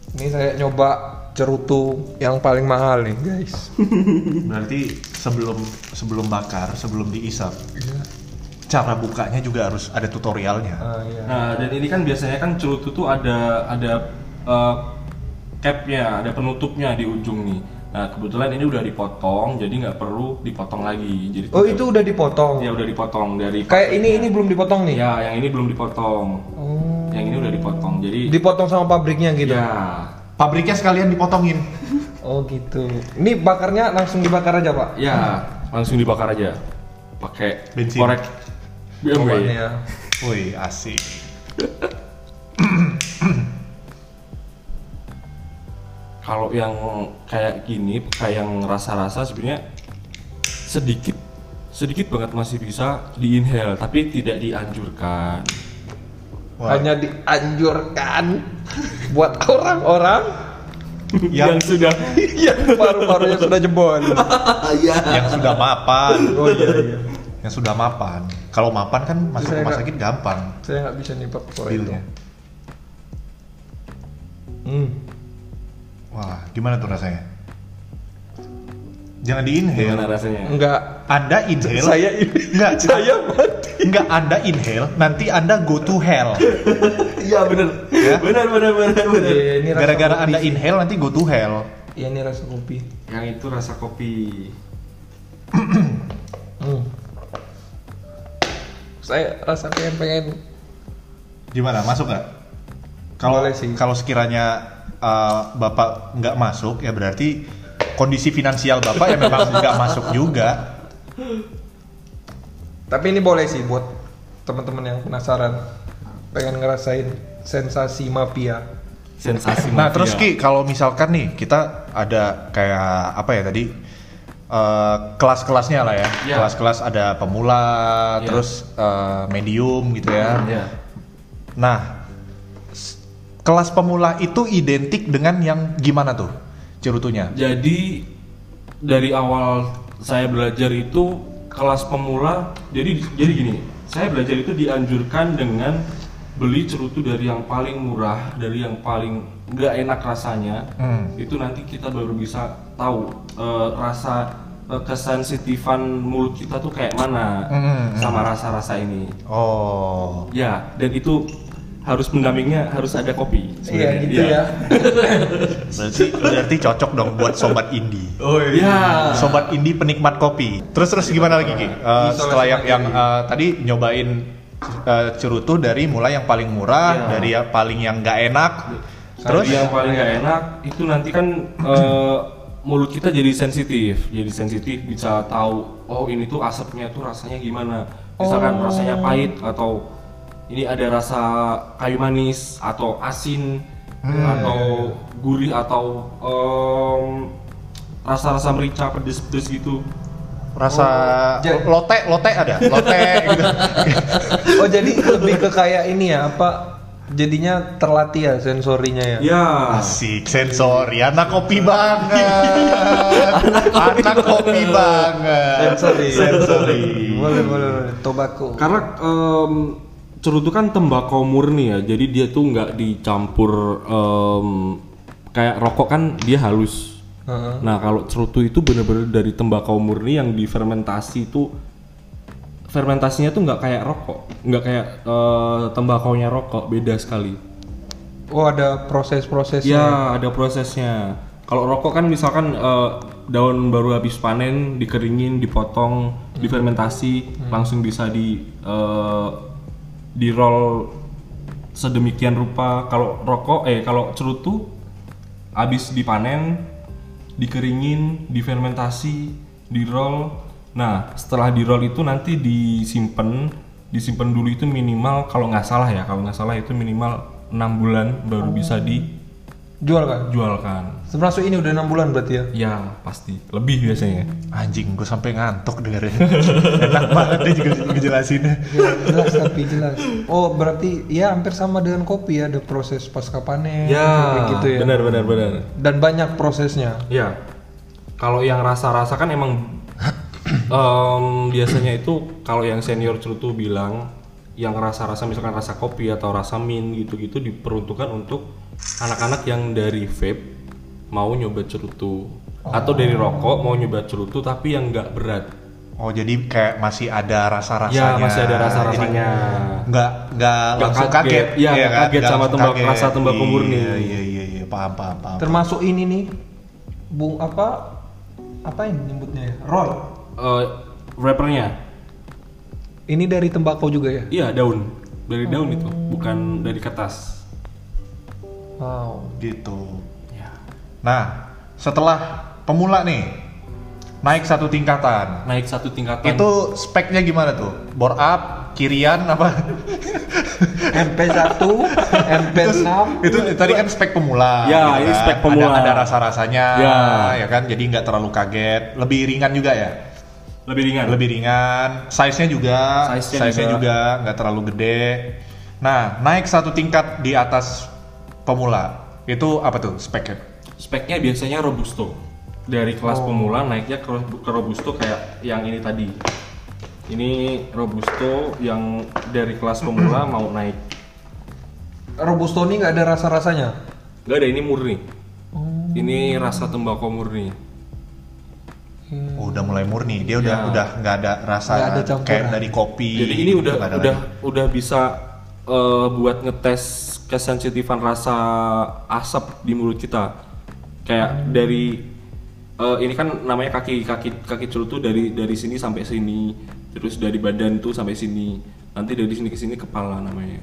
Speaker 1: Ini saya nyoba cerutu yang paling mahal nih, guys.
Speaker 2: Berarti sebelum sebelum bakar, sebelum diisap,
Speaker 1: Iya.
Speaker 2: cara bukanya juga harus ada tutorialnya.
Speaker 1: Ah, iya.
Speaker 3: Nah, dan ini kan biasanya kan cerutu tuh ada ada eh, capnya, ada penutupnya di ujung nih. Nah, kebetulan ini udah dipotong, jadi nggak perlu dipotong lagi. Jadi
Speaker 1: Oh,
Speaker 3: tidak-
Speaker 1: itu udah dipotong.
Speaker 3: ya udah dipotong dari
Speaker 1: Kayak ini ini belum dipotong nih.
Speaker 3: ya yang ini belum dipotong,
Speaker 1: Oh.
Speaker 3: yang ini udah dipotong. Jadi
Speaker 1: Dipotong sama pabriknya gitu.
Speaker 3: ya
Speaker 2: Pabriknya sekalian dipotongin.
Speaker 1: Oh, gitu. Ini bakarnya langsung dibakar aja, Pak.
Speaker 3: ya langsung dibakar aja pakai
Speaker 2: Bensin.
Speaker 3: korek Iya,
Speaker 1: Oke.
Speaker 3: BMW.
Speaker 1: ya.
Speaker 2: Woi, asik.
Speaker 3: Kalau yang kayak gini, kayak yang rasa-rasa sebenarnya sedikit sedikit banget masih bisa diinhale, tapi tidak dianjurkan.
Speaker 2: Wah,
Speaker 1: Hanya dianjurkan buat orang-orang
Speaker 2: Yang- Iya.
Speaker 3: yang sudah
Speaker 1: Paru-parunya sudah jebol.
Speaker 2: yang sudah mapan
Speaker 1: Oh iya iya.
Speaker 2: yang sudah mapan kalau mapan kan masuk
Speaker 1: Saya
Speaker 2: rumah
Speaker 1: nggak-
Speaker 2: sakit gampang
Speaker 1: Saya nggak bisa nyepak koin.
Speaker 2: bilnya
Speaker 1: Hmm.
Speaker 2: wah gimana tuh rasanya jangan diinhale
Speaker 3: gimana rasanya?
Speaker 1: Enggak.
Speaker 2: anda inhale
Speaker 1: Saya ini.
Speaker 2: nggak
Speaker 1: Saya mati.
Speaker 2: nggak anda inhale nanti anda go to hell
Speaker 3: Iya benar.
Speaker 2: Ya.
Speaker 3: Benar benar benar benar.
Speaker 1: Iya, ini rasa
Speaker 2: gara-gara
Speaker 1: kopi
Speaker 2: anda
Speaker 1: sih.
Speaker 2: inhale nanti go to hell
Speaker 1: Iya ini rasa kopi.
Speaker 3: Yang itu rasa kopi.
Speaker 1: Hmm. Saya rasa pengen pengen.
Speaker 2: gimana masuk nggak kalau
Speaker 1: Boleh sih.
Speaker 2: kalau sekiranya uh, bapak nggak masuk ya berarti kondisi finansial bapak ya memang nggak masuk juga
Speaker 1: Tapi ini boleh sih buat teman-teman yang penasaran. Pengen ngerasain sensasi mafia.
Speaker 3: Sensasi
Speaker 2: Nah
Speaker 3: mafia.
Speaker 2: terus Ki, kalau misalkan nih kita ada kayak apa ya tadi eh, kelas-kelasnya lah ya,
Speaker 3: Ya.
Speaker 2: kelas-kelas ada pemula,
Speaker 3: Ya.
Speaker 2: terus eh, medium gitu ya.
Speaker 3: Iya.
Speaker 2: Nah s- kelas pemula itu identik dengan yang gimana tuh cerutunya?
Speaker 3: Jadi dari awal saya belajar itu kelas pemula. Jadi jadi gini, saya belajar itu dianjurkan dengan beli cerutu dari yang paling murah, dari yang paling nggak enak rasanya.
Speaker 2: Hmm.
Speaker 3: Itu nanti kita baru bisa tahu eh, rasa eh, kesensitifan mulut kita tuh kayak mana
Speaker 2: Hmm.
Speaker 3: sama rasa-rasa ini.
Speaker 2: Oh,
Speaker 3: Ya, dan itu harus pendampingnya harus ada kopi.
Speaker 1: Iya
Speaker 3: sebenarnya.
Speaker 1: gitu ya.
Speaker 2: berarti berarti cocok dong buat sobat indie.
Speaker 1: Oh
Speaker 3: Ya.
Speaker 2: Sobat indie penikmat kopi. Terus terus gimana lagi Ki? Eh, setelah yang yang eh, tadi nyobain eh, cerutu dari mulai yang paling murah,
Speaker 3: Iya.
Speaker 2: dari yang paling yang nggak enak.
Speaker 3: Terus
Speaker 2: Terus
Speaker 3: yang paling gak enak itu nanti kan eh, mulut kita jadi sensitif, jadi sensitif bisa tahu oh ini tuh asapnya tuh rasanya gimana. Misalkan rasanya pahit atau ini ada rasa kayu manis atau asin atau gurih atau em, rasa-rasa merica pedes-pedes gitu.
Speaker 2: rasa
Speaker 1: Oh, ja-
Speaker 2: lote lote ada, lote gitu.
Speaker 1: Oh jadi lebih ke kayak ini ya apa? Jadinya terlatih ya sensorinya ya.
Speaker 3: Ya.
Speaker 2: Asik sensori, ya, anak kopi banget. anak kopi banget.
Speaker 1: Sensori.
Speaker 2: Sensori.
Speaker 1: Boleh boleh boleh. Tobacco.
Speaker 3: Karena em, cerutu kan tembakau murni ya, jadi dia tuh nggak dicampur em, kayak rokok kan dia halus.
Speaker 1: Heeh.
Speaker 3: Nah kalau cerutu itu bener-bener dari tembakau murni yang difermentasi itu fermentasinya tuh nggak kayak rokok, nggak kayak eh, tembakaunya rokok, beda sekali.
Speaker 1: Oh ada proses-prosesnya.
Speaker 3: Ya ada prosesnya. Kalau rokok kan misalkan eh, daun baru habis panen dikeringin, dipotong, difermentasi, langsung bisa di eh, di roll sedemikian rupa. Kalau rokok eh kalau cerutu habis dipanen, dikeringin, difermentasi, di roll. Nah setelah di roll itu nanti disimpan disimpan dulu itu minimal kalau nggak salah ya kalau nggak salah itu minimal enam bulan baru bisa di
Speaker 1: Jual kan?
Speaker 3: jualkan
Speaker 1: Termasuk ini udah enam bulan berarti ya?
Speaker 3: ya pasti lebih biasanya
Speaker 2: Anjing, gue sampai ngantuk dengerin. Enak banget deh juga ngejelasinnya.
Speaker 1: Ya, jelas tapi jelas. Oh berarti ya hampir sama dengan kopi ya ada proses pasca panen kayak gitu ya.
Speaker 3: benar benar benar
Speaker 1: Dan banyak prosesnya.
Speaker 3: ya kalau yang rasa-rasa kan emang em, biasanya itu kalau yang senior cerutu bilang yang rasa-rasa misalkan rasa kopi atau rasa mint gitu-gitu diperuntukkan untuk anak-anak yang dari vape mau nyoba cerutu atau dari rokok mau nyoba cerutu tapi yang nggak berat
Speaker 2: Oh jadi kayak masih ada rasa-rasanya.
Speaker 3: ya masih ada
Speaker 2: Jadi
Speaker 3: rasa-rasanya
Speaker 2: nggak nggak
Speaker 3: Nggak
Speaker 2: langsung
Speaker 3: kaget.
Speaker 2: kaget,
Speaker 3: Iya, nggak
Speaker 2: kan?
Speaker 3: kaget
Speaker 2: Nggak
Speaker 3: sama
Speaker 2: langsung
Speaker 3: tembak- rasa tembakau murni.
Speaker 2: Iya iya iya, iya. paham paham paham.
Speaker 1: Termasuk ini nih. Bung apa? Apa yang nyebutnya ya? Roll.
Speaker 3: Eh, wrappernya
Speaker 1: Ini dari tembakau juga ya?
Speaker 3: Iya daun dari daun itu bukan dari kertas.
Speaker 1: Wow.
Speaker 2: gitu.
Speaker 3: Ya.
Speaker 2: Nah setelah pemula nih naik satu tingkatan.
Speaker 3: Naik satu tingkatan.
Speaker 2: Itu speknya gimana tuh? Bore up, kirian apa?
Speaker 1: MP1, MP6.
Speaker 2: itu tadi kan spek pemula.
Speaker 3: Iya. Ya, ini
Speaker 2: kan.
Speaker 3: spek pemula.
Speaker 2: Ada, ada rasa-rasanya,
Speaker 3: Ya.
Speaker 2: ya kan. Jadi nggak terlalu kaget. Lebih ringan juga ya.
Speaker 3: lebih ringan.
Speaker 2: lebih ringan size nya juga
Speaker 3: Size-nya
Speaker 2: size nya
Speaker 3: juga.
Speaker 2: juga nggak terlalu gede nah naik satu tingkat di atas pemula itu apa tuh speknya
Speaker 3: speknya biasanya robusto dari kelas pemula naiknya ke, ke robusto kayak yang ini tadi ini robusto yang dari kelas pemula mau naik
Speaker 1: Robusto ini nggak ada rasa-rasanya.
Speaker 3: nggak ada ini murni ini rasa tembakau murni
Speaker 2: Oh, udah mulai murni dia udah
Speaker 3: Ya.
Speaker 2: udah nggak ada rasa
Speaker 1: Nggak ada campuran.
Speaker 2: kayak dari kopi
Speaker 3: jadi ini
Speaker 2: gitu,
Speaker 3: udah
Speaker 2: nggak ada
Speaker 3: udah
Speaker 2: lagi.
Speaker 3: udah bisa eh, buat ngetes kesensitifan rasa asap di mulut kita kayak dari eh, ini kan namanya kaki kaki kaki cerutu dari dari sini sampai sini terus dari badan tuh sampai sini nanti dari sini ke sini kepala namanya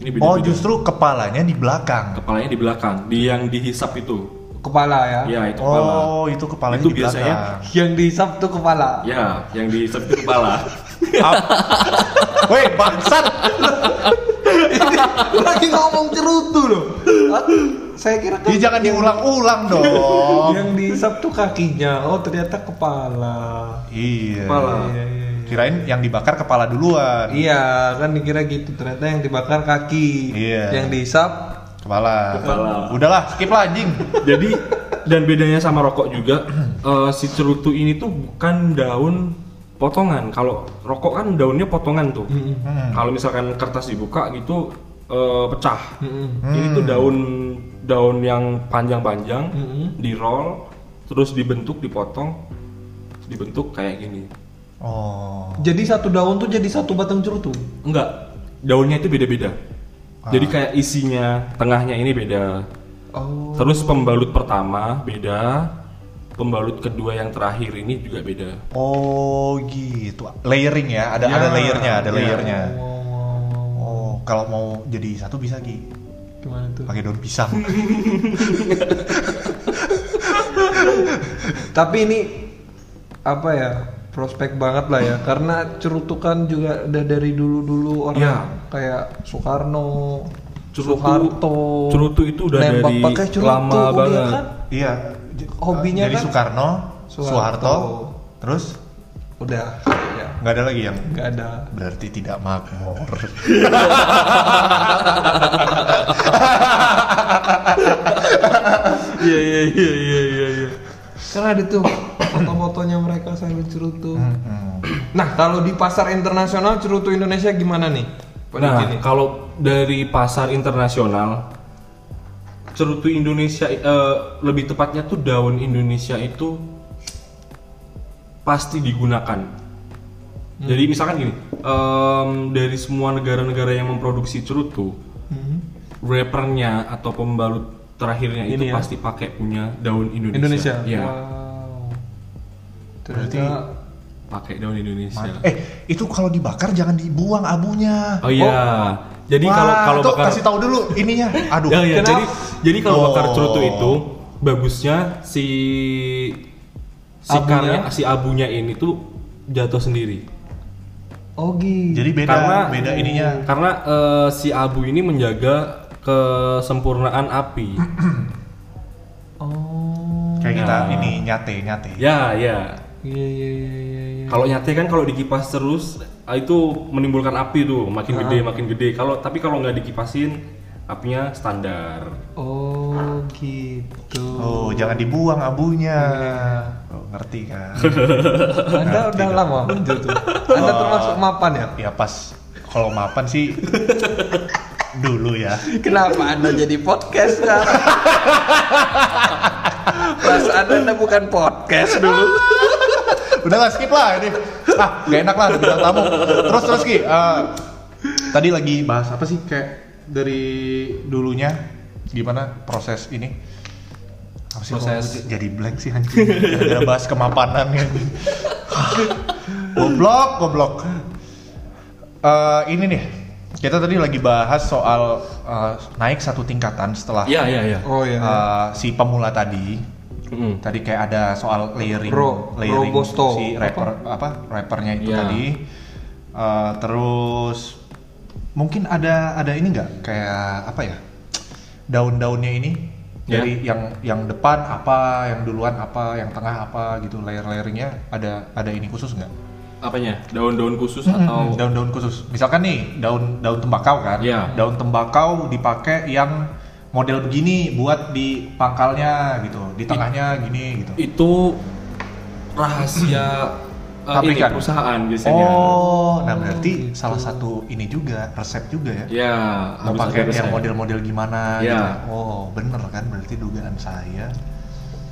Speaker 3: ini beda
Speaker 2: oh justru kepalanya di belakang
Speaker 3: kepalanya di belakang di yang dihisap itu
Speaker 1: Kepala ya.
Speaker 3: ya itu kepala
Speaker 2: oh itu kepalanya
Speaker 3: Itu
Speaker 2: di
Speaker 3: biasanya-
Speaker 2: belakang
Speaker 1: Yang dihisap tuh kepala.
Speaker 3: ya yang dihisap itu kepala
Speaker 2: Ap- Weh bangsat
Speaker 1: Lagi ngomong cerutu loh. Ah, Saya kira kan
Speaker 2: Dia jangan diulang-ulang dong
Speaker 1: yang dihisap tuh kakinya. Oh, ternyata kepala.
Speaker 2: Iya
Speaker 3: Kepala.
Speaker 1: Iya, iya, iya.
Speaker 2: Kirain yang dibakar kepala duluan
Speaker 1: Iya, kan dikira gitu. Ternyata yang dibakar kaki.
Speaker 2: Iya.
Speaker 1: Yang dihisap
Speaker 2: Kepala
Speaker 3: Kepala.
Speaker 2: Udahlah skip lah anjing
Speaker 3: Jadi dan bedanya sama rokok juga eh, si cerutu ini tuh bukan daun potongan. Kalau rokok kan daunnya potongan tuh. Kalau misalkan kertas dibuka gitu eh, pecah. Ini tuh daun daun yang panjang-panjang
Speaker 1: Mm-mm.
Speaker 3: di roll terus dibentuk dipotong dibentuk kayak gini.
Speaker 2: Oh
Speaker 1: jadi satu daun tuh jadi satu batang cerutu.
Speaker 3: Enggak, daunnya itu beda-beda. Jadi kayak isinya tengahnya ini beda.
Speaker 1: Oh.
Speaker 3: Terus pembalut pertama beda, pembalut kedua yang terakhir ini juga beda.
Speaker 2: Oh gitu Layering ya Ada
Speaker 3: Ya,
Speaker 2: ada layernya Ada
Speaker 3: ya.
Speaker 2: layernya
Speaker 1: Wow.
Speaker 2: Oh kalau mau jadi satu bisa Gi
Speaker 1: Gimana tuh?
Speaker 2: Pakai daun pisang
Speaker 1: Tapi ini apa ya? Prospek banget lah ya. Karena cerutukan juga udah dari dulu-dulu orang
Speaker 3: Ya.
Speaker 1: kayak Soekarno,
Speaker 3: Cerutu-
Speaker 1: Soeharto.
Speaker 3: cerutu itu udah
Speaker 1: nembak
Speaker 3: dari
Speaker 1: pakai cerutu,
Speaker 3: lama
Speaker 1: dia
Speaker 3: banget.
Speaker 1: kan
Speaker 2: Iya. J-
Speaker 1: Hobinya
Speaker 2: dari
Speaker 1: kan-
Speaker 2: Soekarno,
Speaker 1: Soeharto.
Speaker 2: Soeharto, terus
Speaker 1: udah ya
Speaker 2: nggak ada lagi yang
Speaker 1: nggak ada.
Speaker 2: berarti tidak makmur.
Speaker 3: Iya iya iya iya iya. iya.
Speaker 1: Karena ada tuh foto-fotonya mereka sambil cerutu.
Speaker 2: Hmm.
Speaker 1: Nah, kalau di pasar internasional cerutu Indonesia gimana nih?
Speaker 3: Nah kalau dari pasar internasional, cerutu Indonesia eh, lebih tepatnya tuh daun Indonesia itu pasti digunakan. Jadi misalkan gini, em, dari semua negara-negara yang memproduksi cerutu,
Speaker 1: Hmm.
Speaker 3: wrappernya atau pembalut terakhirnya itu
Speaker 1: Ini ya?
Speaker 3: pasti pakai punya daun Indonesia.
Speaker 1: Indonesia.
Speaker 3: Iya.
Speaker 1: Wow.
Speaker 2: Berarti-
Speaker 1: Ternyata-
Speaker 3: pakai daun Indonesia.
Speaker 2: Mant- Eh itu kalau dibakar jangan dibuang abunya.
Speaker 3: Oh iya. Jadi
Speaker 2: Wah,
Speaker 3: kalau kalau
Speaker 2: tuh,
Speaker 3: bakar
Speaker 2: kasih tahu dulu ininya. Aduh.
Speaker 3: Ya, ya,
Speaker 1: Kenapa?
Speaker 3: jadi jadi kalau bakar
Speaker 2: Oh.
Speaker 3: cerutu itu bagusnya si si
Speaker 1: Abunya?
Speaker 3: karnya si abunya ini tuh jatuh sendiri.
Speaker 1: Oh, gitu.
Speaker 2: Jadi beda
Speaker 3: Karena-
Speaker 2: beda ininya.
Speaker 3: Karena eh, si abu ini menjaga kesempurnaan api.
Speaker 1: Oh.
Speaker 2: Kayak
Speaker 3: Ya.
Speaker 2: kita ini nyate nyate.
Speaker 3: ya, ya.
Speaker 1: Iya iya iya iya. iya.
Speaker 3: Kalau nyate kan kalau dikipas terus ah, itu menimbulkan api tuh, makin gede makin gede. Kalau tapi kalau nggak dikipasin apinya standar.
Speaker 1: Oh gitu.
Speaker 2: Oh jangan dibuang abunya. Oh, ngerti kan?
Speaker 1: Anda udah lama muncul tuh. Oh. Anda termasuk mapan ya?
Speaker 2: ya pas kalau mapan sih dulu ya.
Speaker 1: Kenapa Anda jadi podcast sekarang? Perasaan Anda bukan podcast dulu.
Speaker 2: udah lah skip lah ini ah nggak enak lah bilang tamu terus terus ki eh, tadi lagi bahas apa sih kayak dari dulunya gimana proses ini apa sih kok
Speaker 3: Proses-
Speaker 2: jadi blank sih anjing gara bahas kemapanan ya goblok goblok Eh, ini nih kita tadi lagi bahas soal eh, naik satu tingkatan setelah
Speaker 3: Iya, iya, iya.
Speaker 1: Oh ya.
Speaker 2: eh, si pemula tadi
Speaker 3: Mm.
Speaker 2: Tadi kayak ada soal layering,
Speaker 1: Ro-
Speaker 2: layering
Speaker 1: Robusto.
Speaker 2: si rapper apa, rappernya itu
Speaker 3: Iya.
Speaker 2: tadi. Eh, terus mungkin ada ada ini nggak kayak apa ya daun-daunnya ini
Speaker 3: Ya.
Speaker 2: dari yang yang depan apa, yang duluan apa, yang tengah apa gitu layer-layeringnya ada ada ini khusus nggak?
Speaker 3: Apanya? Daun-daun khusus
Speaker 2: Hmm,
Speaker 3: atau
Speaker 2: daun-daun khusus. Misalkan nih daun daun tembakau kan,
Speaker 3: Iya.
Speaker 2: daun tembakau dipakai yang model begini buat di pangkalnya gitu, di tengahnya gini gitu.
Speaker 3: Itu rahasia eh, ini,
Speaker 2: Pabrikan.
Speaker 3: perusahaan biasanya.
Speaker 2: Oh, nah berarti salah satu ini juga resep juga ya.
Speaker 3: Ya,
Speaker 2: Mau
Speaker 3: harus
Speaker 2: pakai
Speaker 3: ada
Speaker 2: yang
Speaker 3: resep.
Speaker 2: model-model gimana
Speaker 3: Iya.
Speaker 2: gitu. Oh, bener kan berarti dugaan saya.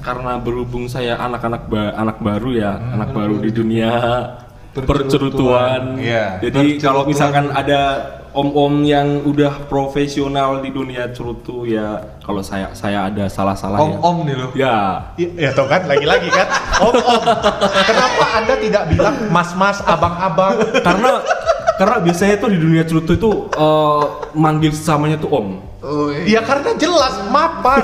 Speaker 3: Karena berhubung saya anak-anak ba- anak baru ya, anak baru di dunia
Speaker 1: Percerutuan.
Speaker 3: percerutuan.
Speaker 2: Iya.
Speaker 3: Jadi kalau misalkan ada om-om yang udah profesional di dunia cerutu ya, kalau saya saya ada salah-salah
Speaker 1: Om om nih lo.
Speaker 3: ya. Ya.
Speaker 2: Ya, tau kan lagi-lagi kan. Om, om. Kenapa Anda tidak bilang mas-mas, abang-abang?
Speaker 3: karena karena biasanya tuh di dunia cerutu itu eh, manggil sesamanya tuh om
Speaker 2: Ya karena jelas mapan.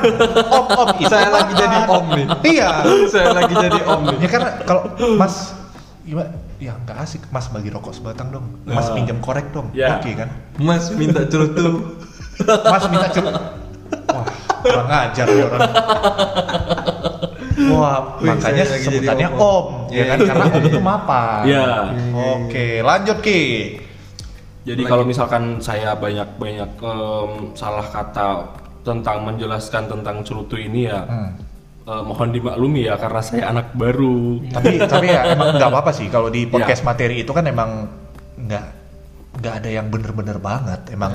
Speaker 2: Om-om itu
Speaker 1: Saya lagi
Speaker 2: mapan.
Speaker 1: jadi om nih.
Speaker 2: Iya.
Speaker 1: Saya lagi jadi om nih.
Speaker 2: Ya karena kalau Mas gimana? Ya nggak asik. Mas bagi rokok sebatang dong. Mas
Speaker 3: Nah.
Speaker 2: pinjam korek dong.
Speaker 3: Ya.
Speaker 2: Oke kan?
Speaker 1: Mas minta cerutu.
Speaker 2: Mas minta cer. Wah, kurang ajar nih orang. Wah,
Speaker 1: Wih,
Speaker 2: makanya
Speaker 1: saya lagi jadi
Speaker 2: sebutannya
Speaker 1: om.
Speaker 2: om,
Speaker 1: Iya,
Speaker 2: ya kan?
Speaker 1: iya,
Speaker 2: Karena om itu mapan.
Speaker 3: Iya.
Speaker 2: Oke, lanjut Ki.
Speaker 3: jadi kalau misalkan saya banyak banyak em, salah kata tentang menjelaskan tentang cerutu ini ya
Speaker 2: Hmm.
Speaker 3: eh, mohon dimaklumi ya karena saya anak baru
Speaker 2: tapi tapi ya emang nggak apa-apa sih
Speaker 1: Iya.
Speaker 2: kalau di podcast materi itu kan emang nggak nggak ada yang bener-bener banget emang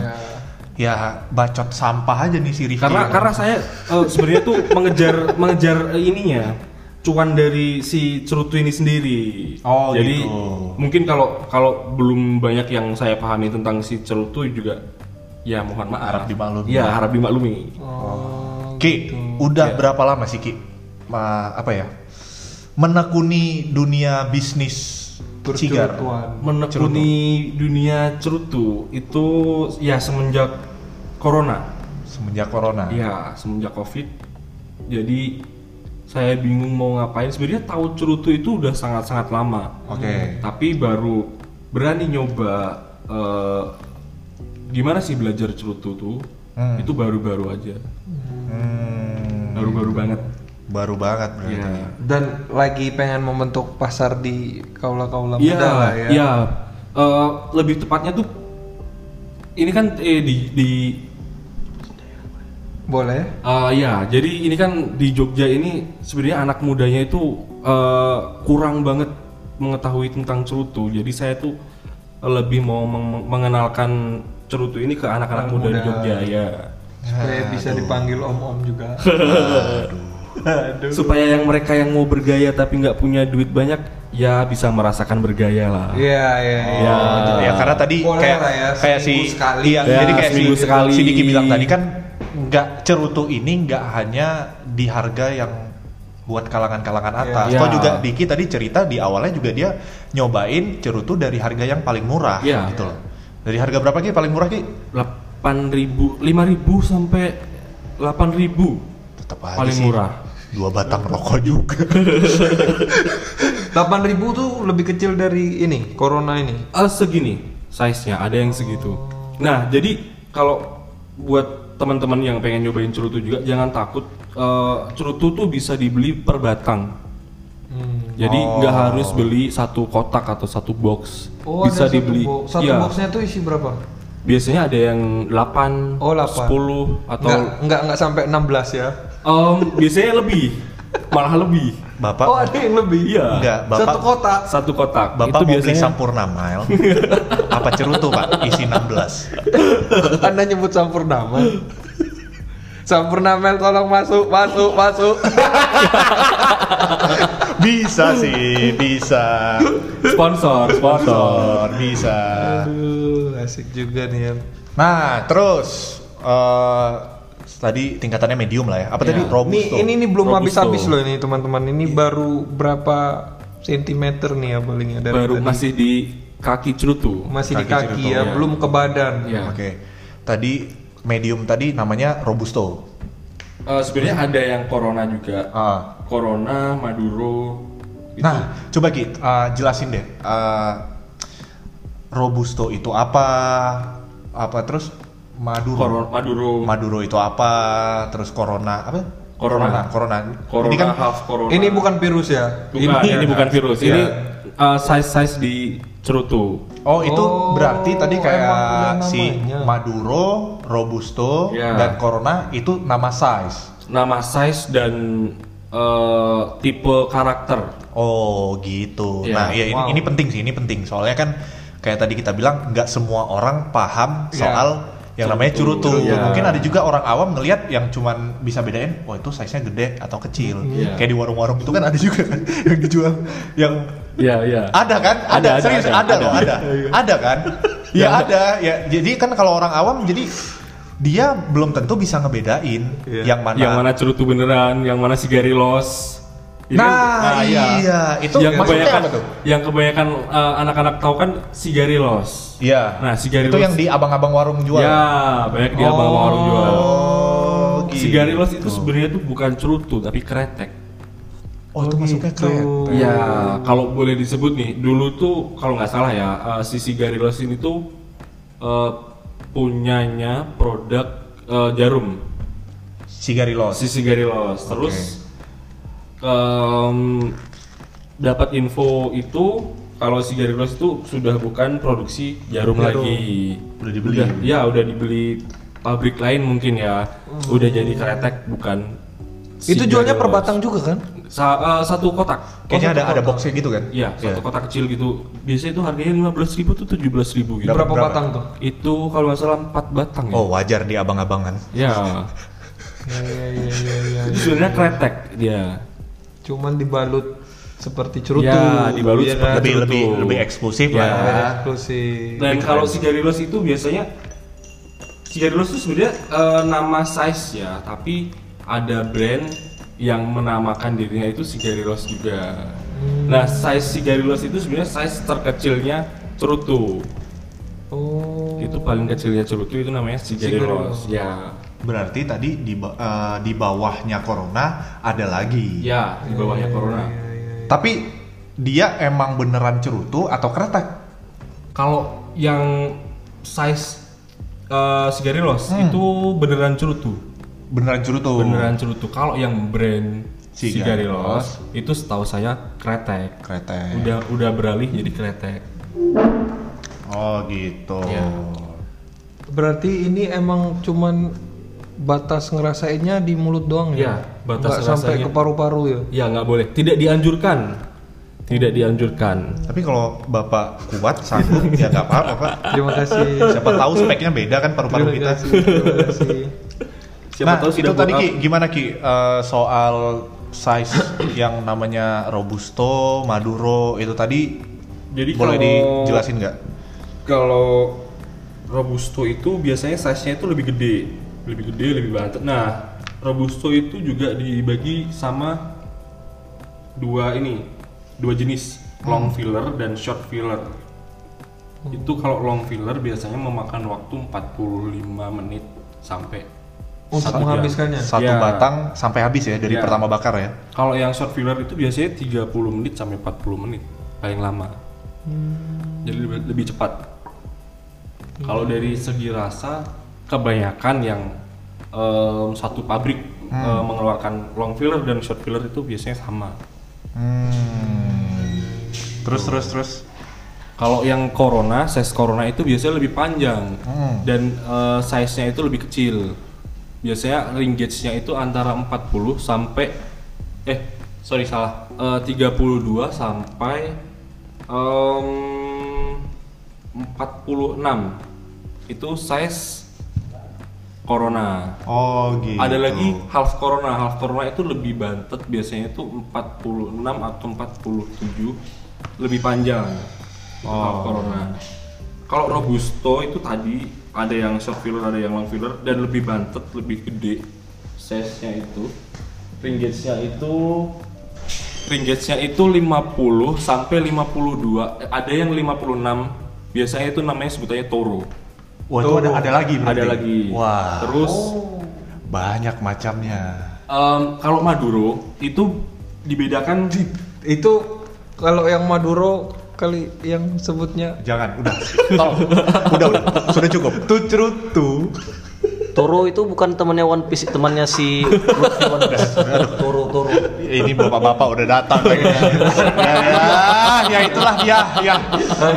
Speaker 1: Ya.
Speaker 2: ya bacot sampah aja nih si Rifki Emang.
Speaker 3: karena karena saya eh, sebenarnya tuh mengejar mengejar eh, ininya cuan dari si cerutu ini sendiri.
Speaker 2: Oh,
Speaker 3: jadi
Speaker 2: gitu.
Speaker 3: mungkin kalau kalau belum banyak yang saya pahami tentang si cerutu juga ya mohon
Speaker 2: Harap
Speaker 3: maaf.
Speaker 2: dimaklumi.
Speaker 3: Ya harap dimaklumi.
Speaker 1: Oh.
Speaker 2: Ki udah berapa lama sih Ki Ma- apa ya menekuni dunia bisnis cigar
Speaker 1: Percerutuan.
Speaker 3: Menekuni dunia cerutu itu ya semenjak corona.
Speaker 2: semenjak corona
Speaker 3: Ya, semenjak Covid. Jadi saya bingung mau ngapain. Sebenarnya tahu cerutu itu udah sangat-sangat lama.
Speaker 2: oke
Speaker 3: Tapi baru berani nyoba eh, gimana sih belajar cerutu tuh?
Speaker 2: Hmm.
Speaker 3: Itu baru-baru aja.
Speaker 2: Hmm,
Speaker 3: Baru-baru banget.
Speaker 2: baru banget berarti
Speaker 3: Iya.
Speaker 1: Dan lagi pengen membentuk pasar di kaula-kaula
Speaker 3: Iya,
Speaker 1: muda lah ya.
Speaker 3: iya. Eh, lebih tepatnya tuh ini kan eh, di di
Speaker 1: Boleh?
Speaker 3: Eh, ya, jadi ini kan di Jogja ini sebenarnya anak mudanya itu eh, kurang banget mengetahui tentang cerutu. Jadi saya tuh lebih mau meng- mengenalkan cerutu ini ke
Speaker 1: Anak
Speaker 3: anak-anak muda, di
Speaker 1: muda.
Speaker 3: Jogja ya.
Speaker 1: Supaya bisa dipanggil om-om juga.
Speaker 3: Supaya yang mereka yang mau bergaya tapi nggak punya duit banyak ya bisa merasakan bergaya lah.
Speaker 1: Iya, iya,
Speaker 3: Oh.
Speaker 1: iya.
Speaker 2: Gitu ya karena tadi
Speaker 1: Boleh
Speaker 2: kayak
Speaker 1: lah ya,
Speaker 2: kayak si
Speaker 1: seminggu sekali.
Speaker 2: iya,
Speaker 3: Ya,
Speaker 2: jadi kayak si,
Speaker 3: seminggu sekali.
Speaker 2: si Diki bilang tadi kan nggak cerutu ini nggak hanya di harga yang buat kalangan-kalangan
Speaker 1: Iya.
Speaker 2: atas.
Speaker 3: Ya.
Speaker 2: Kok juga Diki tadi cerita di awalnya juga dia nyobain cerutu dari harga yang paling murah
Speaker 3: Ya.
Speaker 2: gitu loh. Dari harga berapa Ki paling murah Ki?
Speaker 3: 8.000, 5.000 sampai 8.000.
Speaker 2: Tetap aja
Speaker 3: Paling
Speaker 2: sih,
Speaker 3: murah.
Speaker 2: Dua batang rokok juga.
Speaker 1: 8.000 tuh lebih kecil dari ini, corona ini.
Speaker 3: Eh, segini size-nya, ada yang segitu. Nah, jadi kalau buat teman-teman yang pengen nyobain cerutu juga jangan takut eh, cerutu tuh bisa dibeli per batang.
Speaker 1: Hmm.
Speaker 3: Jadi
Speaker 2: Oh.
Speaker 3: nggak harus beli satu kotak atau satu box.
Speaker 1: Oh,
Speaker 3: bisa
Speaker 1: ada satu
Speaker 3: dibeli.
Speaker 1: box. Satu
Speaker 3: Iya.
Speaker 1: boxnya tuh isi berapa?
Speaker 3: Biasanya ada yang 8,
Speaker 1: Oh, 8.
Speaker 3: 10 atau
Speaker 1: Enggak, enggak, enggak sampai 16 ya.
Speaker 3: Em, biasanya lebih. Malah lebih.
Speaker 2: Bapak
Speaker 1: Oh, ada yang lebih.
Speaker 3: Iya.
Speaker 2: Enggak, Bapak-
Speaker 1: Satu kotak.
Speaker 3: Satu kotak.
Speaker 2: Bapak mau
Speaker 3: itu
Speaker 2: beli
Speaker 3: biasanya
Speaker 2: sampurna mile. Apa cerutu, Pak? Isi 16.
Speaker 1: Anda nyebut Sampurnama. Sampurnamel tolong masuk, masuk, masuk.
Speaker 2: Bisa sih, bisa.
Speaker 3: sponsor, sponsor.
Speaker 2: Motor bisa.
Speaker 1: Aduh, asik juga nih ya.
Speaker 2: Nah, terus eh tadi tingkatannya medium lah ya. Apa tadi
Speaker 3: Iya.
Speaker 1: Ini
Speaker 2: robusto?
Speaker 1: ini nih belum
Speaker 3: Robusto. Iya.
Speaker 1: habis-habis loh ini teman-teman. Ini baru berapa sentimeter nih ya palingnya dari
Speaker 3: Baru
Speaker 1: tadi.
Speaker 3: masih di kaki cerutu.
Speaker 1: masih di
Speaker 2: Kaki
Speaker 1: kaki
Speaker 2: cerutu,
Speaker 1: ya,
Speaker 3: ya.
Speaker 1: belum ke badan.
Speaker 3: Iya.
Speaker 2: Oke. Tadi medium tadi namanya robusto.
Speaker 3: Eh, sebenarnya ada yang corona juga.
Speaker 2: Ah.
Speaker 3: Corona, Maduro. gitu.
Speaker 2: Nah, coba Ki, eh, jelasin deh. eh, robusto itu apa? Apa terus Maduro?
Speaker 3: Corona, Maduro.
Speaker 2: Maduro itu apa? Terus corona apa?
Speaker 3: Corona.
Speaker 2: Corona.
Speaker 3: corona
Speaker 2: Ini Iya. kan
Speaker 3: half corona.
Speaker 1: Ini bukan virus ya.
Speaker 3: Bukan, ini, bukan virus. Ini size size eh, di cerutu.
Speaker 2: Oh itu
Speaker 1: Oh,
Speaker 2: berarti tadi
Speaker 1: emang udah
Speaker 2: kayak si
Speaker 1: namanya.
Speaker 2: Maduro, Robusto,
Speaker 3: Ya.
Speaker 2: dan Corona itu nama size.
Speaker 3: Nama size dan eh, tipe karakter.
Speaker 2: Oh gitu.
Speaker 3: Ya,
Speaker 2: Nah ya ini,
Speaker 1: wow.
Speaker 2: ini penting sih, ini penting. Soalnya kan kayak tadi kita bilang nggak semua orang paham
Speaker 1: Ya.
Speaker 2: soal yang namanya
Speaker 3: Curutu.
Speaker 1: Iya.
Speaker 2: curutu.
Speaker 3: Curutu, ya.
Speaker 2: Mungkin ada juga orang awam ngelihat yang cuman bisa bedain, oh itu size-nya gede atau kecil.
Speaker 3: Iya.
Speaker 2: Kayak di warung-warung itu kan ada juga kan yang dijual yang
Speaker 3: Iya, iya.
Speaker 2: ada kan? Ada,
Speaker 3: Ada, ada,
Speaker 2: serius
Speaker 3: ada,
Speaker 2: ada,
Speaker 3: ada.
Speaker 2: loh, ada. Ada kan? Ya ada. Ya jadi kan kalau orang awam jadi dia belum tentu bisa ngebedain
Speaker 1: Iya.
Speaker 2: yang mana.
Speaker 3: Yang mana cerutu beneran, yang mana sigarilos. Ini-
Speaker 2: Nah, iya. itu
Speaker 3: yang
Speaker 2: maksudnya
Speaker 3: kebanyakan
Speaker 2: apa tuh?
Speaker 3: yang kebanyakan eh, anak-anak tahu kan sigarilos.
Speaker 2: Iya.
Speaker 3: Nah, sigarilos.
Speaker 2: itu yang di abang-abang warung jual.
Speaker 3: Ya, banyak di
Speaker 1: Oh.
Speaker 3: abang-abang jual.
Speaker 2: Oh, gitu.
Speaker 3: Sigarilos itu sebenarnya tuh bukan cerutu tapi kretek.
Speaker 2: Oh, itu masuknya
Speaker 1: gitu.
Speaker 2: keren.
Speaker 3: Ya, kalau boleh disebut nih, dulu tuh kalau nggak salah ya, eh, Sisi Garilos ini tuh eh, punyanya produk eh, jarum,
Speaker 2: Sigarilos.
Speaker 3: Sisi Garilos. Terus em, dapat info itu kalau si Garilos itu sudah bukan produksi jarum,
Speaker 2: Jarum.
Speaker 3: lagi.
Speaker 2: Udah dibeli.
Speaker 3: ya, udah dibeli pabrik lain mungkin ya.
Speaker 2: Hmm.
Speaker 3: Udah jadi kretek bukan. si
Speaker 1: Itu jualnya per
Speaker 3: Garilos.
Speaker 1: batang juga kan?
Speaker 3: Sa- eh, satu kotak.
Speaker 2: Kayaknya
Speaker 1: Oh,
Speaker 2: ada
Speaker 1: satu
Speaker 2: ada
Speaker 1: kotak.
Speaker 2: boxnya gitu kan?
Speaker 3: Iya, satu kotak kecil gitu. Biasanya itu harganya 15.000 ribu tuh 17.000 ribu gitu.
Speaker 1: Berapa,
Speaker 2: berapa?
Speaker 1: batang tuh?
Speaker 3: Itu kalau nggak salah 4 batang ya.
Speaker 2: Oh, wajar di abang-abangan.
Speaker 3: Ya.
Speaker 1: Iya iya iya iya.
Speaker 3: Itu sebenarnya kretek iya. dia.
Speaker 1: Cuman dibalut seperti cerutu.
Speaker 3: Ya, dibalut
Speaker 1: Iya
Speaker 3: seperti
Speaker 1: kan?
Speaker 2: Lebih
Speaker 3: betul.
Speaker 2: lebih lebih eksklusif
Speaker 3: Ya.
Speaker 2: lah.
Speaker 1: Lebih eksklusif.
Speaker 3: Dan kalau sigarilos itu biasanya sigarilos itu sebenarnya eh, nama size ya, tapi ada brand yang menamakan dirinya itu sigarilos juga.
Speaker 2: Hmm.
Speaker 3: Nah, size sigarilos itu sebenarnya size terkecilnya cerutu.
Speaker 1: Oh.
Speaker 3: Itu paling kecilnya cerutu itu namanya
Speaker 1: Sigarilos.
Speaker 3: sigarilos. Ya.
Speaker 2: Berarti tadi di ba- eh, di bawahnya corona ada lagi.
Speaker 3: Ya, di bawahnya
Speaker 1: Iya,
Speaker 3: corona.
Speaker 1: iya, iya.
Speaker 2: Tapi dia emang beneran cerutu atau kretek?
Speaker 3: Kalau yang size eh, sigarilos itu beneran cerutu.
Speaker 2: Beneran cerutu.
Speaker 3: Beneran cerutu. Kalau yang brand
Speaker 2: Sigarilos.
Speaker 3: sigarilos itu setahu saya kretek.
Speaker 2: Kretek.
Speaker 3: Udah udah beralih jadi kretek.
Speaker 2: Oh gitu.
Speaker 3: Ya.
Speaker 1: Berarti ini emang cuman batas ngerasainnya di mulut doang ya?
Speaker 3: Iya, batas
Speaker 1: Nggak sampai
Speaker 3: ngerasainnya.
Speaker 1: ke paru-paru ya?
Speaker 3: Ya nggak boleh. Tidak dianjurkan. Tidak dianjurkan.
Speaker 2: Tapi kalau bapak kuat sanggup ya nggak apa-apa pak.
Speaker 1: Terima kasih.
Speaker 2: Siapa tahu speknya beda kan paru-paru
Speaker 3: Iya,
Speaker 1: Terima
Speaker 2: kita.
Speaker 1: kasih. Terima kasih.
Speaker 2: nah itu
Speaker 3: sudah
Speaker 2: tadi
Speaker 3: buat
Speaker 2: ki
Speaker 3: up.
Speaker 2: gimana ki Eh, soal size yang namanya robusto, maduro itu tadi
Speaker 3: Jadi
Speaker 2: boleh
Speaker 3: kalau-
Speaker 2: dijelasin nggak?
Speaker 3: Kalau robusto itu biasanya size-nya itu lebih gede, lebih gede, lebih bantet. Nah, robusto itu juga dibagi sama dua ini, dua jenis, long
Speaker 1: Hmm.
Speaker 3: filler dan short filler. Itu kalau long filler biasanya memakan waktu 45 menit sampai
Speaker 1: Untuk
Speaker 3: satu jam.
Speaker 1: menghabiskannya.
Speaker 2: Satu
Speaker 3: Ya.
Speaker 2: batang sampai habis ya dari
Speaker 3: Ya.
Speaker 2: pertama bakar ya?
Speaker 3: Kalau yang short filler itu biasanya 30 menit sampai 40 menit paling lama. Jadi lebih, lebih cepat. Kalau dari segi rasa kebanyakan yang em, satu pabrik em, mengeluarkan long filler dan short filler itu biasanya sama.
Speaker 2: Hmm. Terus terus terus.
Speaker 3: Kalau yang corona, size corona itu biasanya lebih panjang
Speaker 2: Hmm.
Speaker 3: dan eh, size-nya itu lebih kecil. Biasanya ring gauge-nya itu antara 40 sampai eh sorry salah Eh, 32 sampai em, 46 itu size corona.
Speaker 2: Oh gitu.
Speaker 3: Ada lagi half corona. Half corona itu lebih bantet biasanya itu 46 atau 47 lebih panjang. Itu half
Speaker 2: Oh.
Speaker 3: corona. Kalau robusto itu tadi ada yang short filler, ada yang long filler dan lebih bantet, lebih gede size-nya itu. Ring gauge-nya itu ring gauge-nya itu 50 sampai 52. Eh, Ada yang 56. Biasanya itu namanya sebutannya toro.
Speaker 2: Wah itu ada ada lagi berarti.
Speaker 3: Ada lagi.
Speaker 2: Wah. Oh.
Speaker 3: Terus
Speaker 2: Banyak macamnya.
Speaker 3: Em, kalau Maduro itu dibedakan
Speaker 1: Itu kalau yang Maduro kali yang sebutnya
Speaker 2: Jangan, udah. Stop. udah, udah. Sudah cukup. Tu cerutu.
Speaker 4: Toro itu bukan temannya One Piece, temannya si Luffy One Piece. Toro Toro.
Speaker 2: ini bapak-bapak udah datang lagi. ya, ya, ya itulah dia, ya,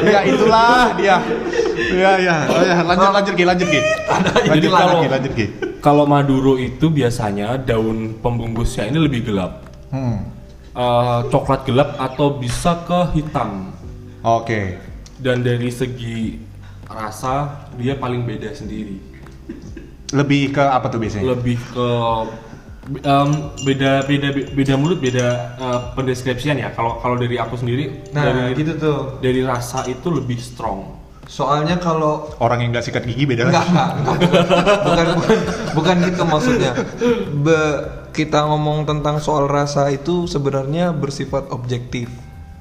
Speaker 2: ya itulah dia. Ya, ya, oh, ya. lanjut, lanjut, Gi, lanjut, Gi. Lanjut,
Speaker 3: Jadi kalau-
Speaker 2: lanjut, Gi, lanjut, Gi.
Speaker 3: Kalau Maduro itu biasanya daun pembungkusnya ini lebih gelap.
Speaker 2: Hmm,
Speaker 3: Eh, coklat gelap atau bisa ke hitam.
Speaker 2: oke.
Speaker 3: Dan dari segi rasa dia paling beda sendiri.
Speaker 2: Lebih ke apa tuh biasanya?
Speaker 3: Lebih ke em, beda beda beda mulut beda eh, pendeskripsian ya. Kalau kalau dari aku sendiri
Speaker 1: Nah,
Speaker 3: dari,
Speaker 1: gitu tuh.
Speaker 3: dari rasa itu lebih strong.
Speaker 1: Soalnya kalau
Speaker 2: Orang yang nggak sikat gigi beda
Speaker 1: Enggak,
Speaker 2: lagi.
Speaker 1: enggak, enggak. Bukan, bukan, bukan gitu maksudnya. Be- kita ngomong tentang soal rasa itu sebenarnya bersifat objektif.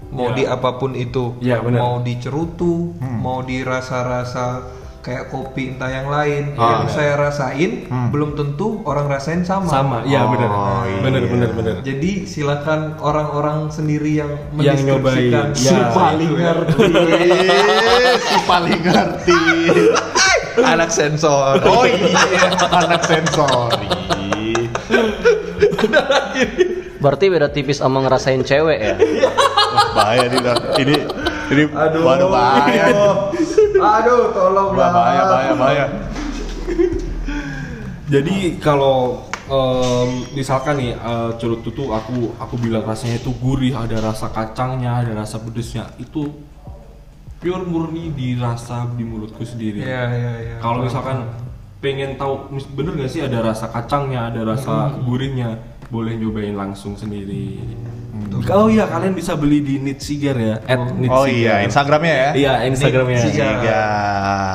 Speaker 1: Mau
Speaker 3: Ya.
Speaker 1: di apapun itu,
Speaker 3: Ya, benar.
Speaker 1: mau dicerutu,
Speaker 2: Hmm.
Speaker 1: mau dirasa-rasa kayak kopi entah yang lain.
Speaker 3: Ah,
Speaker 1: yang
Speaker 3: benar.
Speaker 1: saya rasain
Speaker 2: Hmm.
Speaker 1: belum tentu orang rasain sama.
Speaker 3: Sama, iya
Speaker 2: Oh,
Speaker 3: benar.
Speaker 2: iya.
Speaker 3: Benar benar benar.
Speaker 1: Jadi silakan orang-orang sendiri yang
Speaker 3: Yang
Speaker 1: mendeskripsikan
Speaker 3: nyobain. Ya.
Speaker 1: paling ngerti.
Speaker 2: Ih, Eh, si paling ngerti.
Speaker 1: Anak sensor.
Speaker 2: Oh iya, anak sensori.
Speaker 4: Berarti beda tipis sama ngerasain cewek ya?
Speaker 2: Wah, bahaya nih, Dor. ini ini
Speaker 1: Aduh.
Speaker 2: waduh bahaya.
Speaker 1: Aduh, tolong
Speaker 2: Wah, bahaya, bahaya, bahaya.
Speaker 3: Jadi kalau em, misalkan nih eh, cerutu tuh aku aku bilang rasanya itu gurih, ada rasa kacangnya, ada rasa pedesnya itu pure murni dirasa di mulutku sendiri.
Speaker 1: Iya, iya, iya.
Speaker 3: Kalau misalkan pengen tahu mis- bener gak sih ada rasa kacangnya, ada rasa
Speaker 1: Hmm.
Speaker 3: gurihnya, boleh nyobain langsung sendiri. Oh iya kalian bisa beli di Nitsiger ya, at
Speaker 2: Oh
Speaker 3: Nitsiger.
Speaker 2: iya, Instagramnya ya.
Speaker 3: Iya Instagramnya.
Speaker 1: Nitsiger.
Speaker 2: Tiga.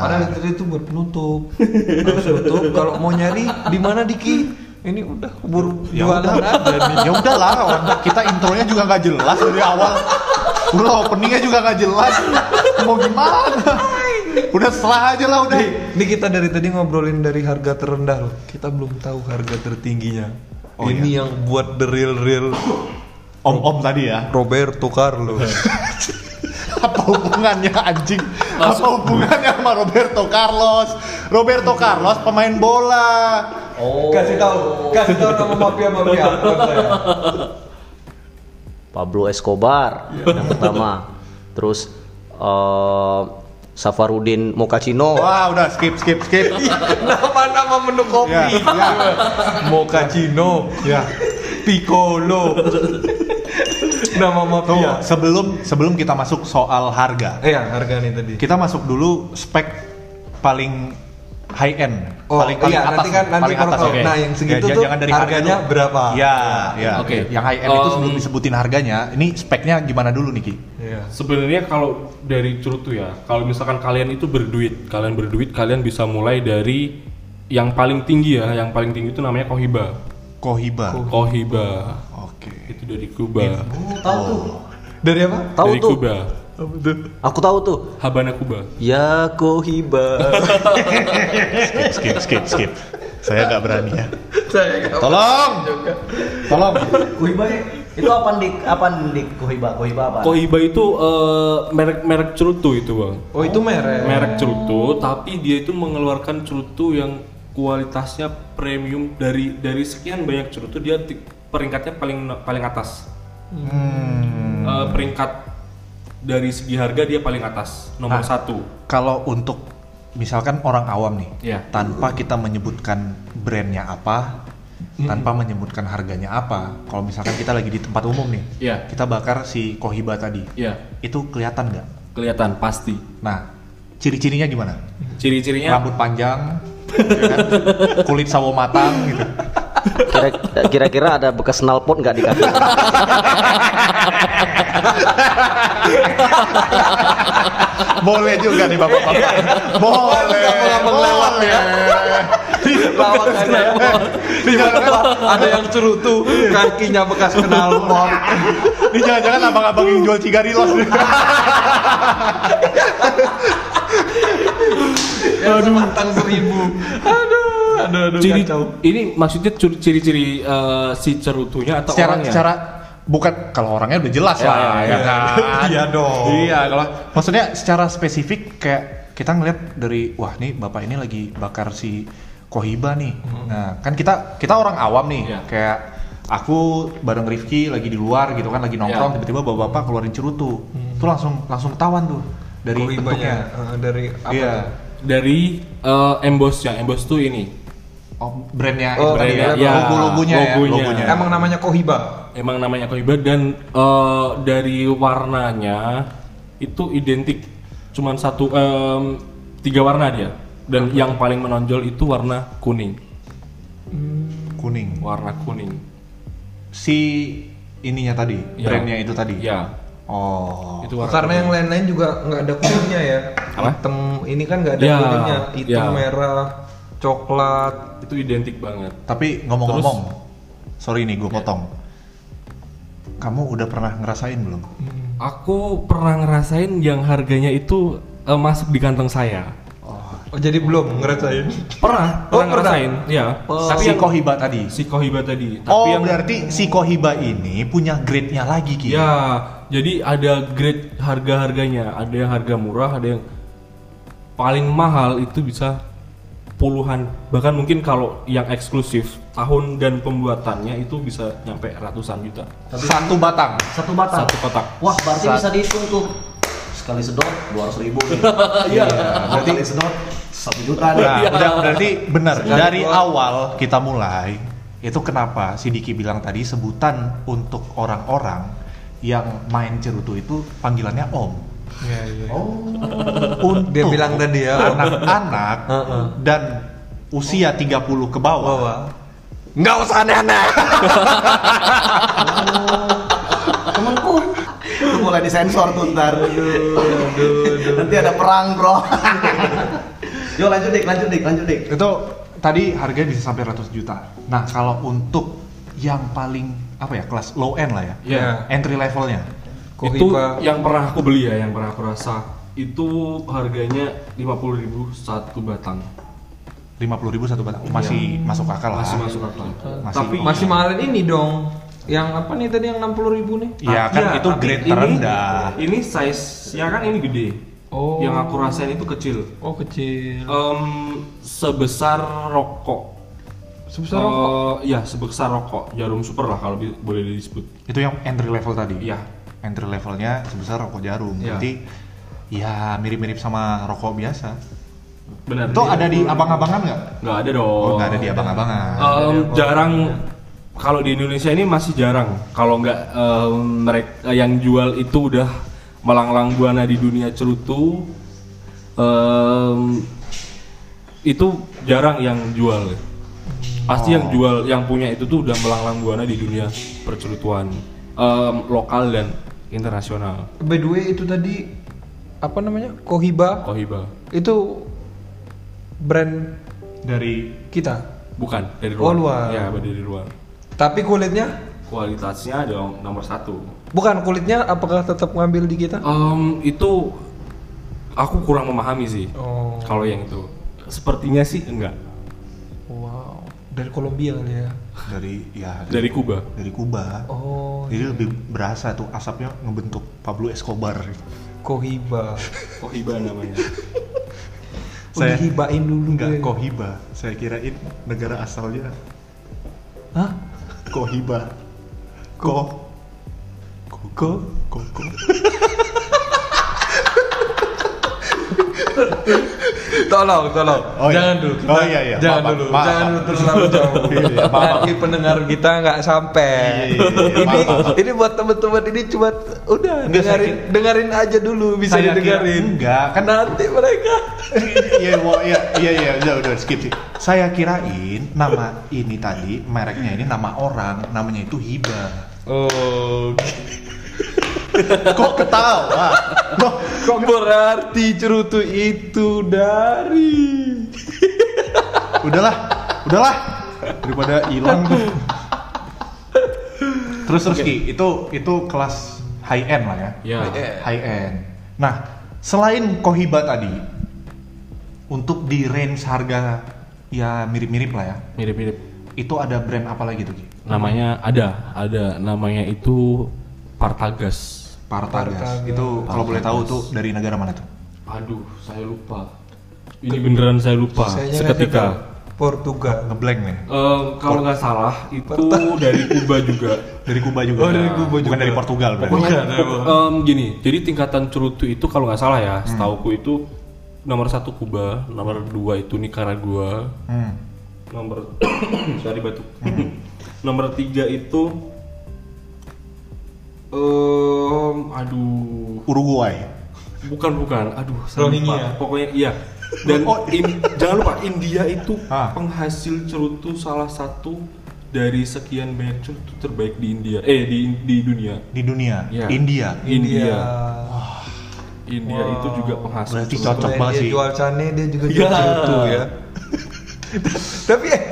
Speaker 1: Padahal itu itu buat penutup. Harus tutup. Kalau mau nyari di mana Diki? Ini udah keburu
Speaker 2: Ya
Speaker 1: jualan
Speaker 2: udah,
Speaker 1: aja.
Speaker 2: ya udahlah, orang kita intronya juga nggak jelas dari awal. Udah openingnya juga nggak jelas. Mau gimana? Udah setelah aja lah udah.
Speaker 1: Ini kita dari tadi ngobrolin dari harga terendah loh. Kita belum tahu harga tertingginya.
Speaker 2: Oh,
Speaker 1: ini yang buat the real real
Speaker 2: Om-om tadi ya.
Speaker 1: Roberto Carlos.
Speaker 2: apa hubungannya anjing apa hubungannya sama Roberto Carlos Roberto Carlos pemain bola
Speaker 1: Oh. Kasih tahu, kasih tahu nama mafia mafia.
Speaker 4: Pablo Escobar
Speaker 2: Iya.
Speaker 4: yang pertama. Terus eh, Safarudin
Speaker 1: Oh.
Speaker 4: Mokacino.
Speaker 2: wah udah skip skip skip
Speaker 1: Iya, Nama-nama menu kopi. Iya.
Speaker 2: ya ya
Speaker 1: Mochaccino,
Speaker 2: ya
Speaker 1: Piccolo. nama
Speaker 2: Tuh,
Speaker 1: mafia.
Speaker 2: sebelum sebelum kita masuk soal harga
Speaker 1: Iya, harga nih tadi.
Speaker 2: kita masuk dulu spek paling high end
Speaker 1: Oh,
Speaker 2: paling paling
Speaker 1: iya,
Speaker 2: atas
Speaker 1: nanti kan- nanti
Speaker 2: paling
Speaker 1: kalau
Speaker 2: atas
Speaker 1: tahu.
Speaker 2: oke.
Speaker 1: Nah, yang segitu
Speaker 2: Ya,
Speaker 1: tuh
Speaker 2: jangan dari harga
Speaker 1: harganya
Speaker 2: dulu.
Speaker 1: berapa?
Speaker 2: ya ya
Speaker 3: Oke.
Speaker 2: yang high end itu
Speaker 3: Um,
Speaker 2: sebelum disebutin harganya ini speknya gimana dulu Niki
Speaker 1: Iya.
Speaker 3: Sebenarnya kalau dari cerutu ya, kalau misalkan kalian itu berduit, kalian berduit kalian bisa mulai dari yang paling tinggi ya, yang paling tinggi itu namanya kohiba.
Speaker 2: Kohiba oke
Speaker 3: Kohiba itu dari Kuba.
Speaker 4: Tahu tuh.
Speaker 1: Dari apa?
Speaker 4: Iya. Tahu
Speaker 3: dari
Speaker 4: tuh.
Speaker 3: Kuba.
Speaker 4: Aku tahu tuh.
Speaker 3: Habana Kuba.
Speaker 4: Ya Kohiba.
Speaker 2: skip skip skip skip saya nggak berani ya tolong tolong
Speaker 4: Kohiba ya? itu apa dik? Apa dik Kohiba? Kohiba apa?
Speaker 3: Kohiba itu eh, merek-merek cerutu itu, Bang.
Speaker 1: Oh, itu merek.
Speaker 3: Merek cerutu, tapi dia itu mengeluarkan cerutu yang kualitasnya premium dari dari sekian banyak cerutu dia ti- peringkatnya paling paling atas.
Speaker 2: Hmm.
Speaker 3: Eh, peringkat dari segi harga dia paling atas nomor
Speaker 2: Ah.
Speaker 3: satu
Speaker 2: kalau untuk misalkan orang awam nih
Speaker 3: Iya.
Speaker 2: tanpa kita menyebutkan brandnya apa
Speaker 3: Hmm.
Speaker 2: tanpa menyebutkan harganya apa kalau misalkan kita lagi di tempat umum nih
Speaker 3: Iya.
Speaker 2: kita bakar si kohiba tadi
Speaker 3: ya
Speaker 2: itu kelihatan nggak
Speaker 3: kelihatan pasti
Speaker 2: nah ciri-cirinya gimana
Speaker 3: ciri-cirinya
Speaker 2: rambut panjang ya kan? kulit sawo matang gitu
Speaker 4: Kira- Kira-kira ada bekas nalpot nggak di kaki?
Speaker 2: boleh juga nih bapak-bapak boleh boleh
Speaker 1: Lawakannya.
Speaker 2: Eh, Ini jangan-
Speaker 1: Ada yang cerutu, kakinya bekas kenal pop.
Speaker 2: Ini jangan-jangan abang-abang yang jual cigarilos nih.
Speaker 1: Tentang seribu. Aduh, aduh, aduh,
Speaker 3: ciri
Speaker 1: kacau.
Speaker 3: ini maksudnya curi- ciri-ciri eh, si cerutunya atau
Speaker 2: secara
Speaker 3: orangnya
Speaker 2: secara bukan kalau orangnya udah jelas
Speaker 3: Ya,
Speaker 2: lah
Speaker 3: ya,
Speaker 2: ya kan?
Speaker 1: Iya dong.
Speaker 2: Iya, kalau maksudnya secara spesifik kayak kita ngeliat dari wah nih bapak ini
Speaker 1: Hmm.
Speaker 2: lagi bakar si Kohiba nih. Nah, kan kita kita orang awam nih
Speaker 3: Iya.
Speaker 2: kayak aku bareng Rifki lagi di luar gitu kan lagi
Speaker 1: Iya.
Speaker 2: nongkrong tiba-tiba bapak-bapak keluarin cerutu
Speaker 1: Hmm.
Speaker 2: itu langsung langsung ketahuan tuh dari
Speaker 1: Kohi
Speaker 2: bentuknya
Speaker 1: banyak, eh, dari apa?
Speaker 2: iya
Speaker 1: tuh?
Speaker 3: dari eh, embossnya emboss tuh ini
Speaker 2: oh, brandnya
Speaker 1: Oh,
Speaker 2: itu tadi
Speaker 1: brandnya,
Speaker 2: ya.
Speaker 1: iya.
Speaker 2: logo-logonya ya
Speaker 3: Logonya.
Speaker 2: logonya
Speaker 1: Emang namanya Kohiba.
Speaker 3: emang namanya Kohiba dan eh, dari warnanya itu identik cuman satu em, tiga warna dia dan yang paling menonjol itu warna kuning
Speaker 2: kuning
Speaker 3: warna kuning
Speaker 2: si ininya tadi
Speaker 3: Iya.
Speaker 2: brandnya itu tadi
Speaker 3: ya
Speaker 2: oh
Speaker 3: itu warna
Speaker 1: Karena yang lain-lain juga nggak ada kuningnya ya.
Speaker 3: Apa?
Speaker 1: Hitam ini kan nggak ada
Speaker 3: Ya,
Speaker 1: kuningnya. Hitam,
Speaker 3: ya.
Speaker 1: merah, coklat.
Speaker 3: itu identik banget
Speaker 2: tapi ngomong-ngomong sorry nih gue potong kamu udah pernah ngerasain belum
Speaker 3: aku pernah ngerasain yang harganya itu eh, masuk di kantong saya
Speaker 1: Oh jadi belum ngerasain?
Speaker 3: pernah
Speaker 1: Oh,
Speaker 3: pernah
Speaker 1: pernah?
Speaker 3: ngerasain ya
Speaker 2: tapi si Kohiba tadi
Speaker 3: si Kohiba tadi tapi
Speaker 2: oh
Speaker 3: yang
Speaker 2: berarti si Kohiba ini punya grade-nya lagi Ki
Speaker 3: Ya, jadi ada grade harga-harganya. Ada yang harga murah, ada yang paling mahal itu bisa puluhan. Bahkan mungkin kalau yang eksklusif tahun dan pembuatannya itu bisa nyampe ratusan juta.
Speaker 2: satu batang
Speaker 4: Satu batang.
Speaker 3: Satu kotak.
Speaker 4: Wah, berarti
Speaker 2: Sat-
Speaker 4: bisa dihitung tuh. Sekali sedot 200 ribu nih.
Speaker 2: Iya.
Speaker 4: Berarti Sekali sedot 1 juta nih.
Speaker 2: Nah, udah berarti benar.
Speaker 1: Sekali
Speaker 2: Dari
Speaker 1: gua-
Speaker 2: awal kita mulai itu kenapa si Diki bilang tadi sebutan untuk orang-orang yang main cerutu itu panggilannya Om.
Speaker 1: Iya iya.
Speaker 2: Untuk
Speaker 1: Dia bilang tadi ya, Om.
Speaker 2: anak-anak
Speaker 1: Heeh.
Speaker 2: dan usia 30 ke
Speaker 1: Wah,
Speaker 2: bawah.
Speaker 1: wah.
Speaker 2: Nggak usah aneh-aneh.
Speaker 4: Temanku. Itu mulai disensor tuh ntar. Nanti ada perang, Bro. Yo lanjut dik, lanjut dik, lanjut dik.
Speaker 2: itu tadi harganya bisa sampai 100 juta. Nah, kalau untuk yang paling apa ya kelas low end lah ya,
Speaker 3: Ya.
Speaker 2: entry levelnya.
Speaker 3: Itu
Speaker 1: Kohiba.
Speaker 3: yang pernah aku beli ya, yang pernah aku rasa. Itu harganya 50.000 satu batang.
Speaker 2: 50.000 satu batang. Masih masuk akal lah.
Speaker 3: Iya. Masih masuk akal.
Speaker 2: Masih-
Speaker 3: Tapi iya.
Speaker 1: Masih mahalin iya. ini dong. Yang apa nih tadi yang 60 ribu nih?
Speaker 2: Iya
Speaker 3: Ah,
Speaker 2: kan
Speaker 3: iya,
Speaker 2: itu
Speaker 3: tapi
Speaker 2: grade
Speaker 3: ini-
Speaker 2: terendah.
Speaker 3: Ini size ya kan ini gede.
Speaker 1: Oh.
Speaker 3: Yang aku rasain itu kecil.
Speaker 1: Oh kecil.
Speaker 3: Em, sebesar rokok.
Speaker 1: Sebesar
Speaker 3: Eh,
Speaker 1: rokok.
Speaker 3: ya, sebesar rokok. Jarum super lah kalau bi- boleh disebut.
Speaker 2: Itu yang entry level tadi.
Speaker 3: Iya.
Speaker 2: Entry levelnya sebesar rokok jarum.
Speaker 3: Iya.
Speaker 2: Berarti ya mirip-mirip sama rokok biasa.
Speaker 3: Benar.
Speaker 2: Itu ada di abang-abangan nggak?
Speaker 3: Nggak ada dong.
Speaker 2: Oh, nggak ada di abang-abangan.
Speaker 3: Em,
Speaker 1: Iya,
Speaker 3: jarang
Speaker 1: oh.
Speaker 3: kalau di Indonesia ini masih jarang. Kalau nggak em, mereka yang jual itu udah melanglang buana di dunia cerutu. Em, itu jarang yang jual.
Speaker 1: Oh.
Speaker 3: Pasti yang jual yang punya itu tuh udah melanglang buana di dunia percerutuan em, lokal dan internasional.
Speaker 1: By the way itu tadi apa namanya? Kohiba.
Speaker 3: Kohiba.
Speaker 1: Itu brand
Speaker 2: Dari
Speaker 1: kita.
Speaker 3: Bukan dari
Speaker 1: Oh,
Speaker 3: luar.
Speaker 1: luar.
Speaker 3: Iya, dari luar.
Speaker 1: Tapi kulitnya
Speaker 3: Kualitasnya dong nomor satu.
Speaker 1: bukan kulitnya apakah tetap ngambil di kita?
Speaker 3: Em, itu aku kurang memahami sih.
Speaker 1: Oh.
Speaker 3: Kalau yang itu. Sepertinya sih enggak.
Speaker 1: Wow. Dari Kolombia kali ya.
Speaker 2: dari ya dari,
Speaker 3: Dari Kuba.
Speaker 2: dari Kuba.
Speaker 1: Oh.
Speaker 2: Jadi lebih berasa tuh asapnya ngebentuk Pablo Escobar.
Speaker 1: Kohiba.
Speaker 3: Kohiba namanya.
Speaker 1: Saya
Speaker 2: Saya-
Speaker 1: dihibain dulu
Speaker 2: Enggak
Speaker 1: gue.
Speaker 2: Kohiba. Saya kirain negara asalnya
Speaker 1: Hah?
Speaker 2: Kohiba. Ko Koko Koko.
Speaker 1: Tolong, tolong.
Speaker 2: Oh, iya.
Speaker 1: jangan dulu. kita-
Speaker 2: Oh, iya, iya.
Speaker 1: Jangan
Speaker 2: Maaf,
Speaker 1: dulu.
Speaker 2: maaf.
Speaker 1: Jangan dulu terlalu jauh.
Speaker 2: Iya, iya, maaf, maaf.
Speaker 1: Nanti pendengar kita nggak sampai.
Speaker 2: Iya, iya, iya.
Speaker 1: ini
Speaker 2: Maaf, maaf.
Speaker 1: ini buat teman-teman ini cuma udah
Speaker 2: Enggak, saya
Speaker 1: dengerin dengerin aja dulu bisa
Speaker 2: Saya kira
Speaker 1: didengerin.
Speaker 2: enggak, kan-
Speaker 1: nanti mereka.
Speaker 2: Iya, wo- iya, iya, iya, udah, udah, skip sih. Saya kirain nama ini tadi, mereknya ini nama orang, namanya itu Hiba.
Speaker 1: Oh,
Speaker 2: Kok ketawa? Loh,
Speaker 1: kok berarti cerutu itu dari
Speaker 2: udahlah, udahlah. Daripada hilang. Terus terus Ki, itu itu kelas high end lah ya.
Speaker 3: Ya.
Speaker 2: High end. Nah, selain Kohiba tadi, untuk di range harga ya mirip-mirip lah ya.
Speaker 3: Mirip-mirip.
Speaker 2: Itu ada brand apa lagi tuh Ki?
Speaker 3: Namanya ada, ada namanya itu Partagas.
Speaker 2: Partagas.
Speaker 1: Partagas.
Speaker 2: Itu kalau boleh tahu tuh dari negara mana tuh?
Speaker 3: Aduh, saya lupa. Ini beneran saya lupa
Speaker 1: Saya nggak
Speaker 3: Ah, seketika.
Speaker 1: Portugal.
Speaker 2: ngeblank nih
Speaker 3: Eh, kalau nggak salah itu dari Kuba juga.
Speaker 2: dari Kuba juga
Speaker 1: Oh, dari Kuba
Speaker 2: bukan
Speaker 1: juga.
Speaker 2: dari Portugal berarti
Speaker 1: Bukan,
Speaker 3: Em, gini, jadi tingkatan cerutu itu kalau nggak salah ya,
Speaker 1: Hmm.
Speaker 3: setauku itu nomor satu Kuba, nomor dua itu Nicaragua,
Speaker 2: Hmm.
Speaker 3: nomor sorry batuk, nomor tiga itu, em, aduh,
Speaker 2: Uruguay
Speaker 3: bukan bukan, aduh, saya
Speaker 1: Rohingya.
Speaker 3: lupa. pokoknya iya. Dan in- jangan lupa India itu
Speaker 2: Ah.
Speaker 3: penghasil cerutu salah satu dari sekian banyak cerutu terbaik di India, eh di di dunia.
Speaker 2: di dunia
Speaker 1: Ya.
Speaker 3: Iya.
Speaker 2: India
Speaker 3: India. Ah, India itu juga penghasil.
Speaker 2: Berarti
Speaker 3: cerutu.
Speaker 2: Cocok
Speaker 1: Selain
Speaker 2: banget
Speaker 1: dia
Speaker 2: sih.
Speaker 1: jual cane dia juga
Speaker 3: Iya.
Speaker 1: jual cerutu ya. Tapi eh,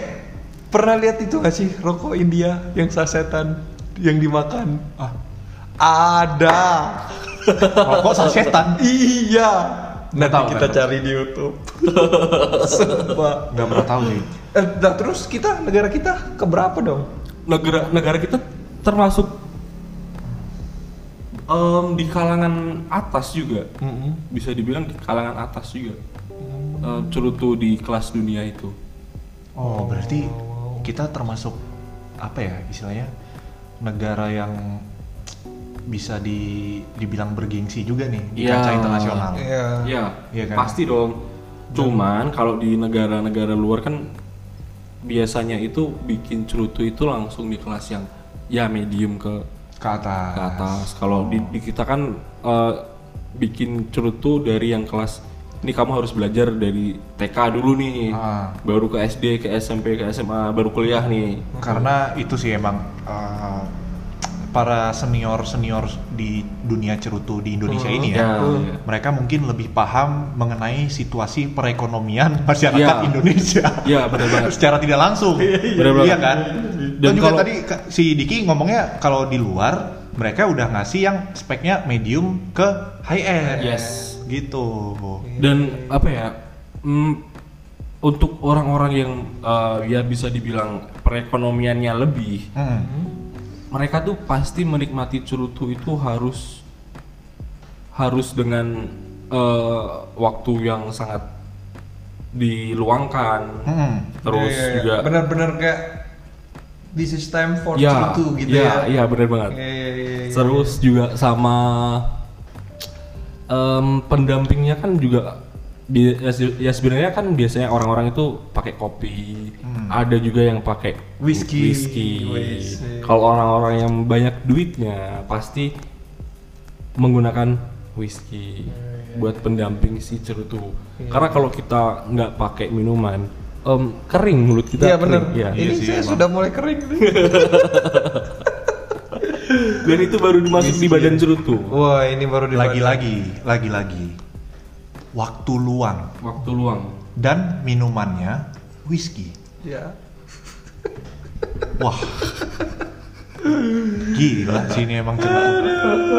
Speaker 1: pernah lihat itu gak sih rokok India yang sasetan yang dimakan?
Speaker 2: Ah.
Speaker 1: Ada.
Speaker 2: rokok sasetan
Speaker 1: iya. Nanti
Speaker 2: tahu,
Speaker 1: kita
Speaker 2: nggak tahu.
Speaker 1: cari di YouTube. Sumpah.
Speaker 2: nggak pernah tahu sih
Speaker 1: Eh, nah, terus kita negara kita keberapa dong?
Speaker 3: Negara negara kita termasuk em, di kalangan atas juga. Bisa dibilang di kalangan atas juga. Em, cerutu di kelas dunia itu.
Speaker 2: oh berarti kita termasuk apa ya istilahnya negara yang bisa di dibilang bergengsi juga nih di
Speaker 3: Iya.
Speaker 2: kancah internasional
Speaker 1: Iya.
Speaker 3: Ya,
Speaker 2: Iya kan? Iya.
Speaker 3: pasti dong. Cuman kalau di negara-negara luar kan biasanya itu bikin cerutu itu langsung di kelas yang ya medium ke
Speaker 2: ke atas
Speaker 3: ke atas. Kalau di, di kita kan eh, bikin cerutu dari yang kelas ini kamu harus belajar dari TK dulu nih,
Speaker 2: Ah.
Speaker 3: baru ke SD, ke SMP, ke SMA, baru kuliah nih.
Speaker 2: karena itu sih emang uh, para senior senior di dunia cerutu di Indonesia ini ya
Speaker 3: Ya, ya.
Speaker 2: mereka mungkin lebih paham mengenai situasi perekonomian masyarakat
Speaker 3: Iya.
Speaker 2: Indonesia
Speaker 3: Iya, benar banget.
Speaker 2: secara tidak langsung
Speaker 3: Benar banget.
Speaker 2: iya kan dan
Speaker 3: Dan
Speaker 2: juga
Speaker 3: kalau-
Speaker 2: tadi Ka- si Diki ngomongnya kalau di luar mereka udah ngasih yang speknya medium ke high end
Speaker 3: Yes.
Speaker 2: gitu
Speaker 3: Dan apa ya? mm, untuk orang-orang yang eh, ya bisa dibilang perekonomiannya lebih,
Speaker 2: Mm.
Speaker 3: mereka tuh pasti menikmati cerutu itu harus harus dengan eh, waktu yang sangat diluangkan
Speaker 2: Mm.
Speaker 3: terus
Speaker 1: Iya, iya, iya.
Speaker 3: juga
Speaker 1: benar-benar kayak this is time for
Speaker 3: ya
Speaker 1: cerutu gitu
Speaker 3: ya
Speaker 1: ya.
Speaker 3: iya benar banget
Speaker 1: Iya, iya, iya, iya.
Speaker 3: terus juga sama em, pendampingnya kan juga bi- ya se- ya sebenarnya kan biasanya orang-orang itu pakai kopi ada juga yang pakai
Speaker 1: Hmm. Whisky.
Speaker 3: whisky.
Speaker 1: Whisky.
Speaker 3: kalau orang-orang yang banyak duitnya pasti menggunakan whisky
Speaker 1: Iya.
Speaker 3: buat pendamping si cerutu karena kalau kita nggak pakai minuman em, kering mulut kita
Speaker 1: Iya benar.
Speaker 3: kering. Iya.
Speaker 1: Ini
Speaker 2: Iya sih,
Speaker 1: saya
Speaker 2: emang.
Speaker 1: sudah mulai kering.
Speaker 3: dan itu baru dimasuk di badan cerutu
Speaker 1: Wah ini baru di
Speaker 2: lagi-lagi lagi-lagi waktu luang
Speaker 3: waktu luang
Speaker 2: dan minumannya whisky.
Speaker 1: Ya.
Speaker 2: Wah. Gila sih ini emang cerutu.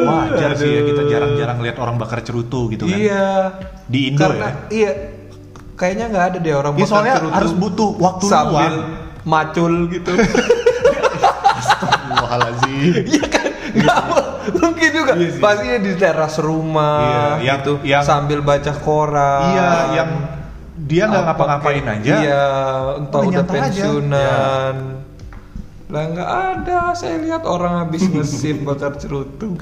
Speaker 2: Wajar sih ya kita jarang-jarang lihat orang bakar cerutu gitu kan.
Speaker 1: Iya.
Speaker 2: Di Indo
Speaker 1: Karena
Speaker 2: ya.
Speaker 1: iya kayaknya nggak ada deh orang
Speaker 2: Iya
Speaker 1: makan
Speaker 2: soalnya
Speaker 1: cerutu
Speaker 2: harus butuh waktu
Speaker 1: sambil
Speaker 2: luang. Iya
Speaker 1: macul gitu.
Speaker 2: Astagfirullahaladzim.
Speaker 1: Iya kan? Nggak mungkin juga. Pastinya di teras rumah
Speaker 2: Iya, yang-
Speaker 1: gitu
Speaker 2: yang-
Speaker 1: sambil baca koran.
Speaker 2: Iya yang dia nggak
Speaker 1: Apa
Speaker 2: ngapa-ngapain
Speaker 1: kayak-
Speaker 2: aja.
Speaker 1: Iya, entah
Speaker 2: Udah
Speaker 1: udah
Speaker 2: nyantai aja. Iya.
Speaker 1: pensiunan. Lah nggak ada, saya lihat orang habis ngesip bakar cerutu.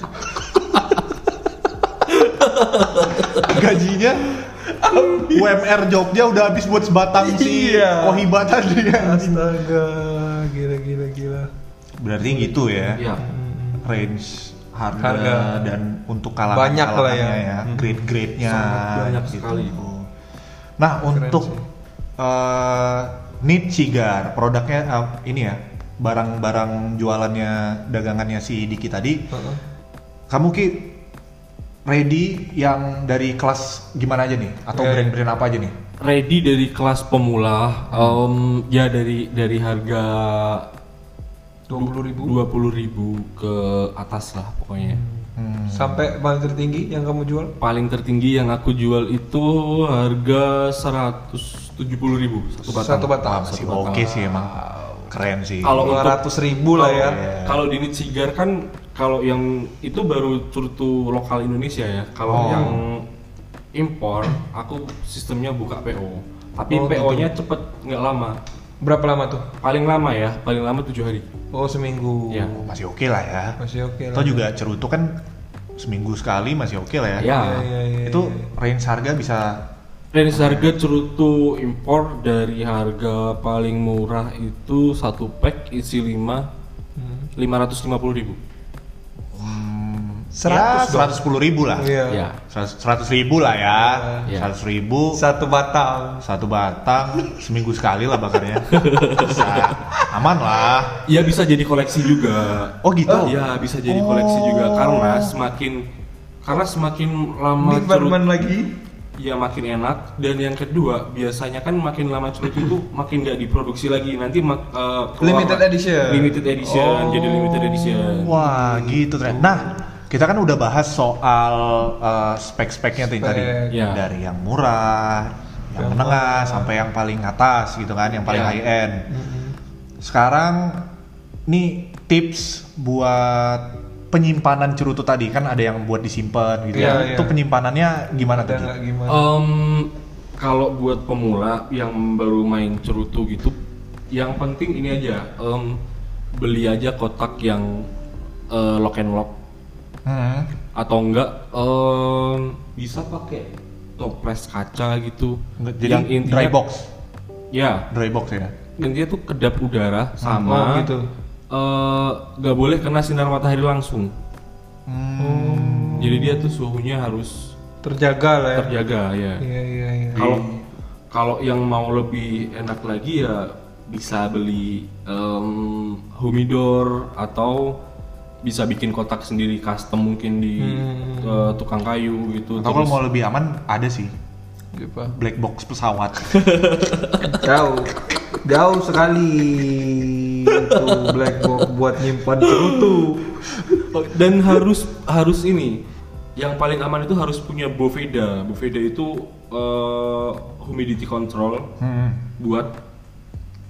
Speaker 2: Gajinya UMR Jogja udah habis buat sebatang sih.
Speaker 1: Iya.
Speaker 2: Kohiba tadi ya.
Speaker 1: Astaga, gila gila gila.
Speaker 2: Berarti gitu ya.
Speaker 3: Iya.
Speaker 2: range harga,
Speaker 1: Harga.
Speaker 2: dan untuk kalangan
Speaker 1: Banyak lah ya.
Speaker 2: Hmm. grade-grade-nya
Speaker 3: Sangat banyak
Speaker 2: gitu.
Speaker 3: sekali.
Speaker 2: Nah, untuk
Speaker 1: sih.
Speaker 2: eh Nit Cigar, produknya eh, ini ya, barang-barang jualannya dagangannya si Diki tadi.
Speaker 1: Heeh.
Speaker 2: Kamu Ki ready yang dari kelas gimana aja nih atau
Speaker 1: Iya, iya.
Speaker 2: brand-brand apa aja nih?
Speaker 3: ready dari kelas pemula em, ya dari dari harga
Speaker 1: 20.000
Speaker 3: dua ribu ke atas lah pokoknya
Speaker 1: sampai paling tertinggi yang kamu jual?
Speaker 3: paling tertinggi yang aku jual itu harga 170.000 ribu satu batang,
Speaker 1: Satu batang.
Speaker 2: Masih oke sih emang. Keren sih.
Speaker 3: Kalau
Speaker 1: Dua ratus ribu lah ya.
Speaker 3: kalau di Cigar kan kalau yang itu baru curtu lokal Indonesia ya kalau
Speaker 2: Oh.
Speaker 3: yang impor aku sistemnya buka PO Tapi
Speaker 1: Oh,
Speaker 3: PO-nya cepet, nggak lama.
Speaker 1: Berapa lama tuh?
Speaker 3: Paling lama ya, paling lama tujuh hari.
Speaker 1: Oh seminggu.
Speaker 3: Iya.
Speaker 2: masih oke lah ya
Speaker 1: Masih oke
Speaker 2: atau juga cerutu kan seminggu sekali masih oke lah ya
Speaker 3: Ya.
Speaker 1: Iya, iya, iya,
Speaker 2: itu
Speaker 1: iya.
Speaker 2: range harga bisa
Speaker 3: Range harga cerutu impor dari harga paling murah itu satu pack isi 5
Speaker 1: Hmm.
Speaker 3: 550 ribu.
Speaker 1: 100
Speaker 2: seratus
Speaker 1: dong.
Speaker 2: sepuluh ribu lah
Speaker 1: Iya.
Speaker 3: Ya.
Speaker 2: seratus ribu lah ya
Speaker 3: Iya.
Speaker 2: seratus ribu
Speaker 1: Satu batang.
Speaker 2: satu batang seminggu sekali lah bakarnya bisa aman lah
Speaker 3: Ya bisa jadi koleksi juga.
Speaker 2: oh gitu
Speaker 3: Ya bisa jadi koleksi juga karena semakin karena semakin lama
Speaker 1: Oh. Ini
Speaker 3: cerut
Speaker 1: Batman lagi.
Speaker 3: ya makin enak dan yang kedua biasanya kan makin lama cerut itu makin nggak diproduksi lagi nanti mak- eh, keluar-
Speaker 1: Limited edition.
Speaker 3: limited edition
Speaker 1: Oh.
Speaker 3: jadi limited edition
Speaker 2: wah gitu ternyata nah kita kan udah bahas soal eh, spek-speknya tadi tadi
Speaker 1: Spek.
Speaker 3: Iya.
Speaker 2: dari yang murah yang
Speaker 1: Yang
Speaker 2: menengah
Speaker 1: murah.
Speaker 2: sampai yang paling atas gitu kan yang paling
Speaker 3: Iya.
Speaker 2: high end sekarang nih tips buat penyimpanan cerutu tadi kan ada yang buat disimpan gitu
Speaker 1: Iya,
Speaker 2: ya itu
Speaker 1: iya.
Speaker 2: penyimpanannya gimana
Speaker 1: Ada
Speaker 2: tuh Ki?
Speaker 1: nggak gimana?
Speaker 3: Em, kalau buat pemula yang baru main cerutu gitu yang penting ini aja em, beli aja kotak yang eh, lock and lock
Speaker 2: Hmm.
Speaker 3: atau enggak em, bisa pakai toples kaca gitu
Speaker 2: Nggak, jadi dry box
Speaker 3: ya
Speaker 2: dry box ya
Speaker 3: intinya tuh kedap udara
Speaker 1: Oh,
Speaker 3: sama
Speaker 1: gitu.
Speaker 3: eh, nggak boleh kena sinar matahari langsung jadi dia tuh suhunya harus
Speaker 1: Terjaga lah ya.
Speaker 3: terjaga ya
Speaker 1: Iya iya iya.
Speaker 3: kalau kalau yang mau lebih enak lagi ya bisa beli em, humidor atau bisa bikin kotak sendiri custom mungkin di
Speaker 1: Hmm.
Speaker 3: eh, tukang kayu gitu
Speaker 2: atau kalau mau lebih aman ada sih
Speaker 1: Gitu.
Speaker 2: black box pesawat
Speaker 1: Jauh. Jauh sekali itu black box buat nyimpan cerutu.
Speaker 3: dan harus harus ini yang paling aman itu harus punya boveda boveda itu eh, humidity control
Speaker 2: Hmm.
Speaker 3: buat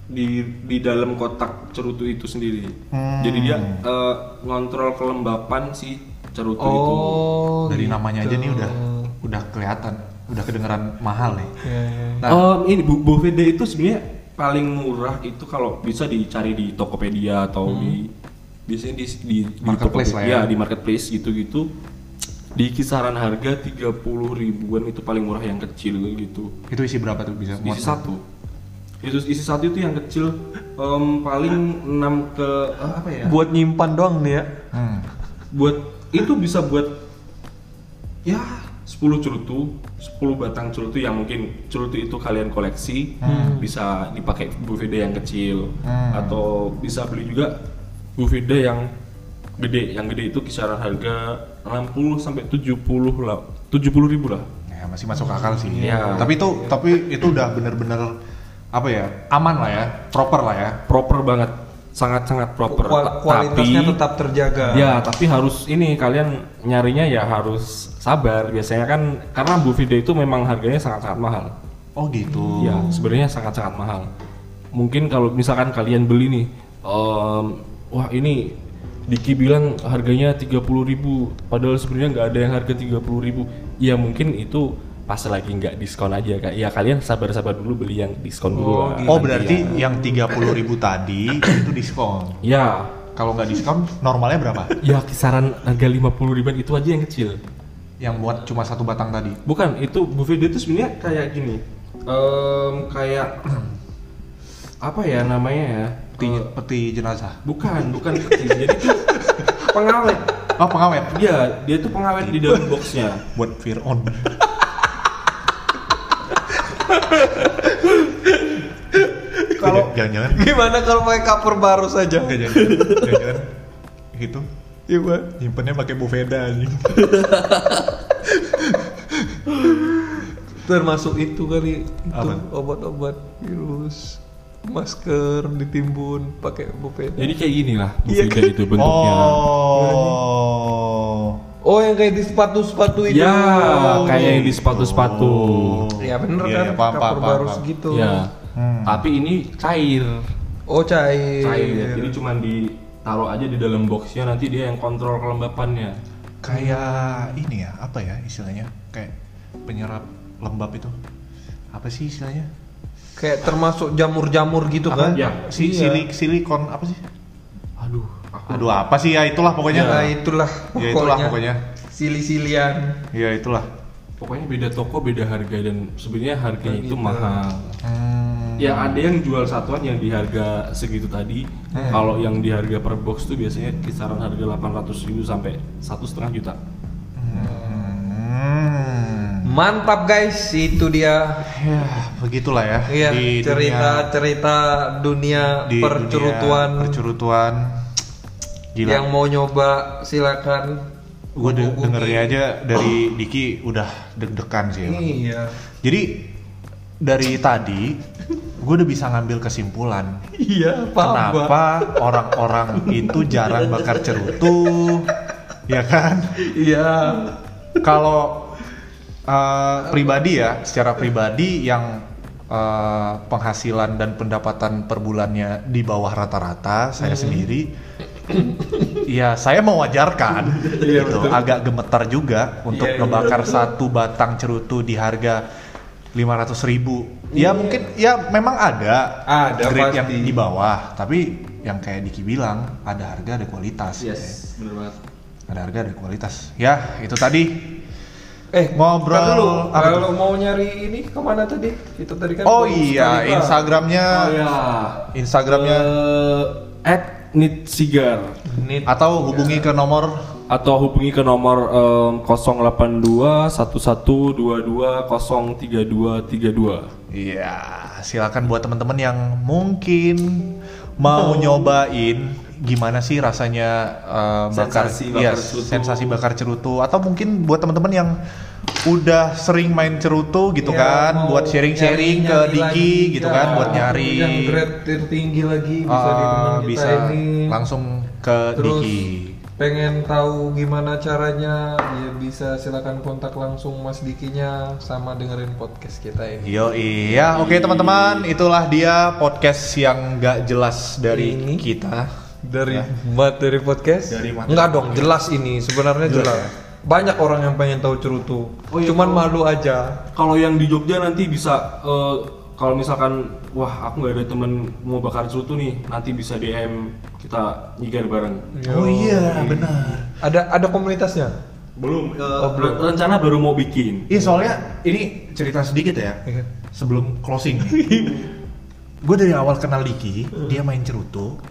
Speaker 3: di di dalam kotak cerutu itu sendiri
Speaker 2: Hmm.
Speaker 3: jadi dia eh, ngontrol kelembapan si cerutu itu
Speaker 1: Oh.
Speaker 2: dari
Speaker 1: gitu.
Speaker 2: namanya aja nih udah udah kelihatan udah kedengeran mahal nih
Speaker 1: Iya iya.
Speaker 2: Nah.
Speaker 3: Em, ini bu- boveda itu sebenarnya paling murah itu kalau bisa dicari di Tokopedia atau di biasanya di di di
Speaker 2: Hmm. Marketplace
Speaker 3: Tokopedia,
Speaker 2: lah ya.
Speaker 3: di marketplace gitu-gitu di kisaran harga 30 ribuan itu paling murah yang kecil gitu.
Speaker 2: itu isi berapa tuh bisa muat
Speaker 3: Isi satu. Itu isi satu itu yang kecil em, paling 6 ke ah, apa ya?
Speaker 1: Buat nyimpan doang nih ya.
Speaker 2: Hmm.
Speaker 3: buat itu bisa buat ya 10 cerutu 10 batang cerutu yang mungkin cerutu itu kalian koleksi
Speaker 1: Hmm.
Speaker 3: bisa dipakai bufida yang kecil atau bisa beli juga bufida yang gede yang gede itu kisaran harga 60 sampai 70 lah 70 ribu lah
Speaker 2: ya masih masuk akal sih
Speaker 3: Iya.
Speaker 2: tapi itu tapi itu udah bener-bener apa ya aman lah ya proper lah ya
Speaker 3: proper banget sangat-sangat proper
Speaker 1: Kual-
Speaker 3: Ta-
Speaker 1: kualitasnya
Speaker 3: tapi-
Speaker 1: tetap eh. terjaga.
Speaker 3: Ya, tapi harus ini kalian nyarinya ya harus sabar. Biasanya kan karena Bufida itu memang harganya sangat-sangat mahal.
Speaker 2: oh gitu
Speaker 3: Ya, sebenarnya sangat-sangat mahal. Mungkin kalau misalkan kalian beli nih, em, wah ini Diki bilang harganya 30.000, padahal sebenarnya nggak ada yang harga 30.000. Ya mungkin itu pas lagi nggak diskon aja kak. Ya kalian sabar-sabar dulu beli yang diskon dulu.
Speaker 1: Oh,
Speaker 3: lah.
Speaker 1: gitu.
Speaker 2: oh berarti
Speaker 3: iya.
Speaker 2: yang 30.000 ribu tadi itu diskon
Speaker 3: Ya,
Speaker 2: kalau nggak diskon normalnya berapa
Speaker 3: ya kisaran harga 50 ribuan itu aja yang kecil.
Speaker 2: yang buat cuma satu batang tadi
Speaker 3: Bukan, itu buffet dia itu sebenarnya kayak gini. Em, kayak apa ya namanya ya?
Speaker 2: peti,
Speaker 3: Eh,
Speaker 2: peti jenazah
Speaker 3: bukan, bukan peti. Jadi itu pengawet.
Speaker 2: oh pengawet
Speaker 3: Dia dia itu pengawet di dalam boxnya.
Speaker 2: buat fear on
Speaker 1: Kalau-
Speaker 2: jangan-jangan
Speaker 1: Gimana kalau pakai cover baru saja?
Speaker 2: Nggak, jangan-jangan jangan-jangan itu
Speaker 1: Iya, Pak.
Speaker 2: nyimpennya pakai bufeda anjing
Speaker 1: termasuk itu kali itu
Speaker 2: Apa?
Speaker 1: obat-obat virus masker ditimbun pakai bopeda
Speaker 3: Jadi kayak gini lah
Speaker 1: Iya
Speaker 3: buffet
Speaker 1: kan?
Speaker 3: dia itu bentuknya.
Speaker 2: oh
Speaker 1: oh yang kayak di sepatu-sepatu itu
Speaker 3: Ya, kayak yang di sepatu-sepatu.
Speaker 1: ya bener
Speaker 2: Iya,
Speaker 1: kan
Speaker 2: iya, paham,
Speaker 1: cover
Speaker 2: paham, paham,
Speaker 1: baru
Speaker 2: paham. Iya.
Speaker 1: segitu
Speaker 3: Ya.
Speaker 1: Hmm.
Speaker 3: Tapi ini cair.
Speaker 1: oh cair,
Speaker 2: ya,
Speaker 3: Cair.
Speaker 1: iya.
Speaker 3: ya. Jadi cuman ditaruh aja di dalam boxnya nanti dia yang kontrol kelembapannya.
Speaker 2: kayak ini ya apa ya istilahnya kayak penyerap lembab itu apa sih istilahnya
Speaker 1: kayak termasuk jamur-jamur gitu
Speaker 2: Apa?
Speaker 1: kan?
Speaker 3: Ya.
Speaker 2: Si
Speaker 1: Iya.
Speaker 2: silik- silikon apa sih?
Speaker 3: Aduh, aku
Speaker 2: Aduh apa sih ya itulah
Speaker 1: Nah,
Speaker 2: pokoknya.
Speaker 1: itulah
Speaker 2: Ya, itulah pokoknya.
Speaker 1: Sili-silian.
Speaker 2: Ya itulah.
Speaker 3: pokoknya beda toko beda harga dan sebenarnya harganya
Speaker 1: Nah, gitu.
Speaker 3: itu mahal. Ya ada yang jual satuan yang di harga segitu tadi. Kalau yang di harga per box tuh biasanya kisaran harga 800.000 sampai satu setengah juta.
Speaker 2: Hmm.
Speaker 1: Mantap guys, itu dia
Speaker 2: Ya begitulah ya.
Speaker 1: Iya,
Speaker 2: Di dunia-
Speaker 1: cerita-cerita dunia,
Speaker 2: di dunia
Speaker 1: percerutuan
Speaker 2: percurutuan. Gila.
Speaker 1: yang mau nyoba silakan.
Speaker 2: gue
Speaker 1: hubungi.
Speaker 2: dengernya aja dari Diki udah deg-degan sih. emang.
Speaker 1: Iya.
Speaker 2: Jadi dari tadi gue udah bisa ngambil kesimpulan
Speaker 1: Iya, Pak.
Speaker 2: kenapa orang-orang itu jarang bakar cerutu, ya kan?
Speaker 1: Iya.
Speaker 2: kalau eh, pribadi ya, secara pribadi yang eh, penghasilan dan pendapatan per bulannya di bawah rata-rata
Speaker 1: Hmm.
Speaker 2: saya sendiri, ya saya mewajarkan, gitu. Agak gemetar juga untuk
Speaker 1: Iya, iya.
Speaker 2: ngebakar satu batang cerutu di harga 500.000 ribu. Ya mungkin ya memang ada
Speaker 1: Iya. Ada
Speaker 2: grade yang
Speaker 1: pasti.
Speaker 2: di bawah, tapi yang kayak Diki bilang ada harga ada kualitas.
Speaker 3: Yes, bener banget.
Speaker 2: Ada harga ada kualitas. Ya itu tadi
Speaker 1: Eh,
Speaker 2: Ngobrol-
Speaker 1: ntar dulu.
Speaker 2: apa tuh?
Speaker 1: Kalau mau nyari ini kemana tadi? Kita tadi kan
Speaker 2: Oh
Speaker 1: baru sekali,
Speaker 2: iya,
Speaker 1: Pak.
Speaker 2: Instagramnya,
Speaker 3: Oh ya.
Speaker 2: Instagramnya,
Speaker 3: Eh, At Nit Sigar
Speaker 2: Eh,
Speaker 1: Nit.
Speaker 2: atau hubungi ke nomor
Speaker 3: atau hubungi ke nomor eh, em, 082 1122 03232.
Speaker 2: Iya, silakan buat teman-teman yang mungkin mau nyobain gimana sih rasanya uh, bakar,
Speaker 3: Sensasi bakar
Speaker 2: iya,
Speaker 3: cerutu.
Speaker 2: sensasi bakar cerutu atau mungkin buat teman-teman yang udah sering main cerutu gitu
Speaker 1: Iya,
Speaker 2: kan,
Speaker 1: mau
Speaker 2: buat sharing-sharing ke
Speaker 1: nyari-nyari
Speaker 2: Diki
Speaker 1: lagi,
Speaker 2: gitu
Speaker 1: ya.
Speaker 2: kan, buat nyari
Speaker 1: yang grade tertinggi lagi bisa di teman
Speaker 2: uh,
Speaker 1: kita
Speaker 2: bisa
Speaker 1: ini.
Speaker 2: langsung ke
Speaker 1: Terus
Speaker 2: Diki.
Speaker 1: pengen tahu gimana caranya ya bisa silakan kontak langsung Mas Dikinya sama dengerin podcast kita ini.
Speaker 2: Yo iya, oke teman-teman, itulah dia podcast yang gak jelas dari
Speaker 1: Ini.
Speaker 2: kita.
Speaker 1: Dari materi podcast?
Speaker 2: Dari materi
Speaker 1: Enggak dong, jelas ini sebenarnya jelas. Banyak orang yang pengen tahu cerutu.
Speaker 3: Oh iya,
Speaker 1: Cuman
Speaker 3: oh.
Speaker 1: malu aja.
Speaker 3: Kalau yang di Jogja nanti bisa eh, kalau misalkan wah aku nggak ada temen mau bakar cerutu nih, nanti bisa DM kita nyigar bareng.
Speaker 2: Oh iya, benar.
Speaker 1: Ada ada komunitasnya?
Speaker 3: Belum, eh,
Speaker 1: Oh, belum.
Speaker 3: rencana baru mau bikin.
Speaker 2: Iya soalnya ini cerita sedikit ya,
Speaker 1: Iya.
Speaker 2: sebelum closing. Gue dari awal kenal Diki, dia main cerutu.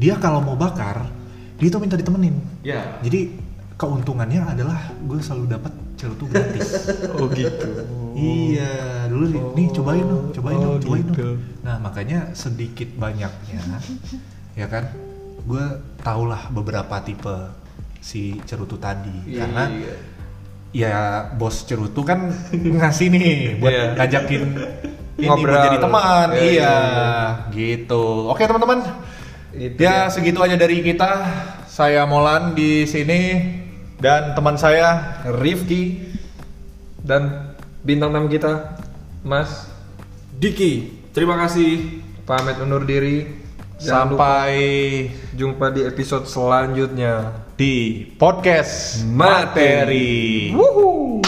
Speaker 2: Dia kalau mau bakar, dia tuh minta ditemenin.
Speaker 3: Ya.
Speaker 2: Jadi keuntungannya adalah gue selalu dapat cerutu gratis.
Speaker 1: Oh gitu.
Speaker 2: Iya, dulu nih, nih cobain dong, cobain dong,
Speaker 1: oh
Speaker 2: cobain
Speaker 1: gitu.
Speaker 2: dong. Nah makanya sedikit banyaknya, ya kan, gue tahulah beberapa tipe si cerutu
Speaker 1: Iya,
Speaker 2: tadi, karena ya bos cerutu kan ngasih nih buat
Speaker 1: Iya.
Speaker 2: ngajakin ini
Speaker 1: Ngobrol.
Speaker 2: buat jadi teman,
Speaker 1: Iya,
Speaker 2: iya,
Speaker 1: iya,
Speaker 2: gitu. Oke teman-teman,
Speaker 1: Itu
Speaker 2: ya segitu aja dari kita. Saya Molan di sini dan teman saya
Speaker 1: Rifki dan bintang tamu kita Mas
Speaker 3: Diki, terima kasih.
Speaker 1: pamit undur diri. Jangan lupa
Speaker 2: sampai
Speaker 1: jumpa di episode selanjutnya.
Speaker 2: di podcast
Speaker 1: Materi.
Speaker 2: materi.
Speaker 1: Woohoo!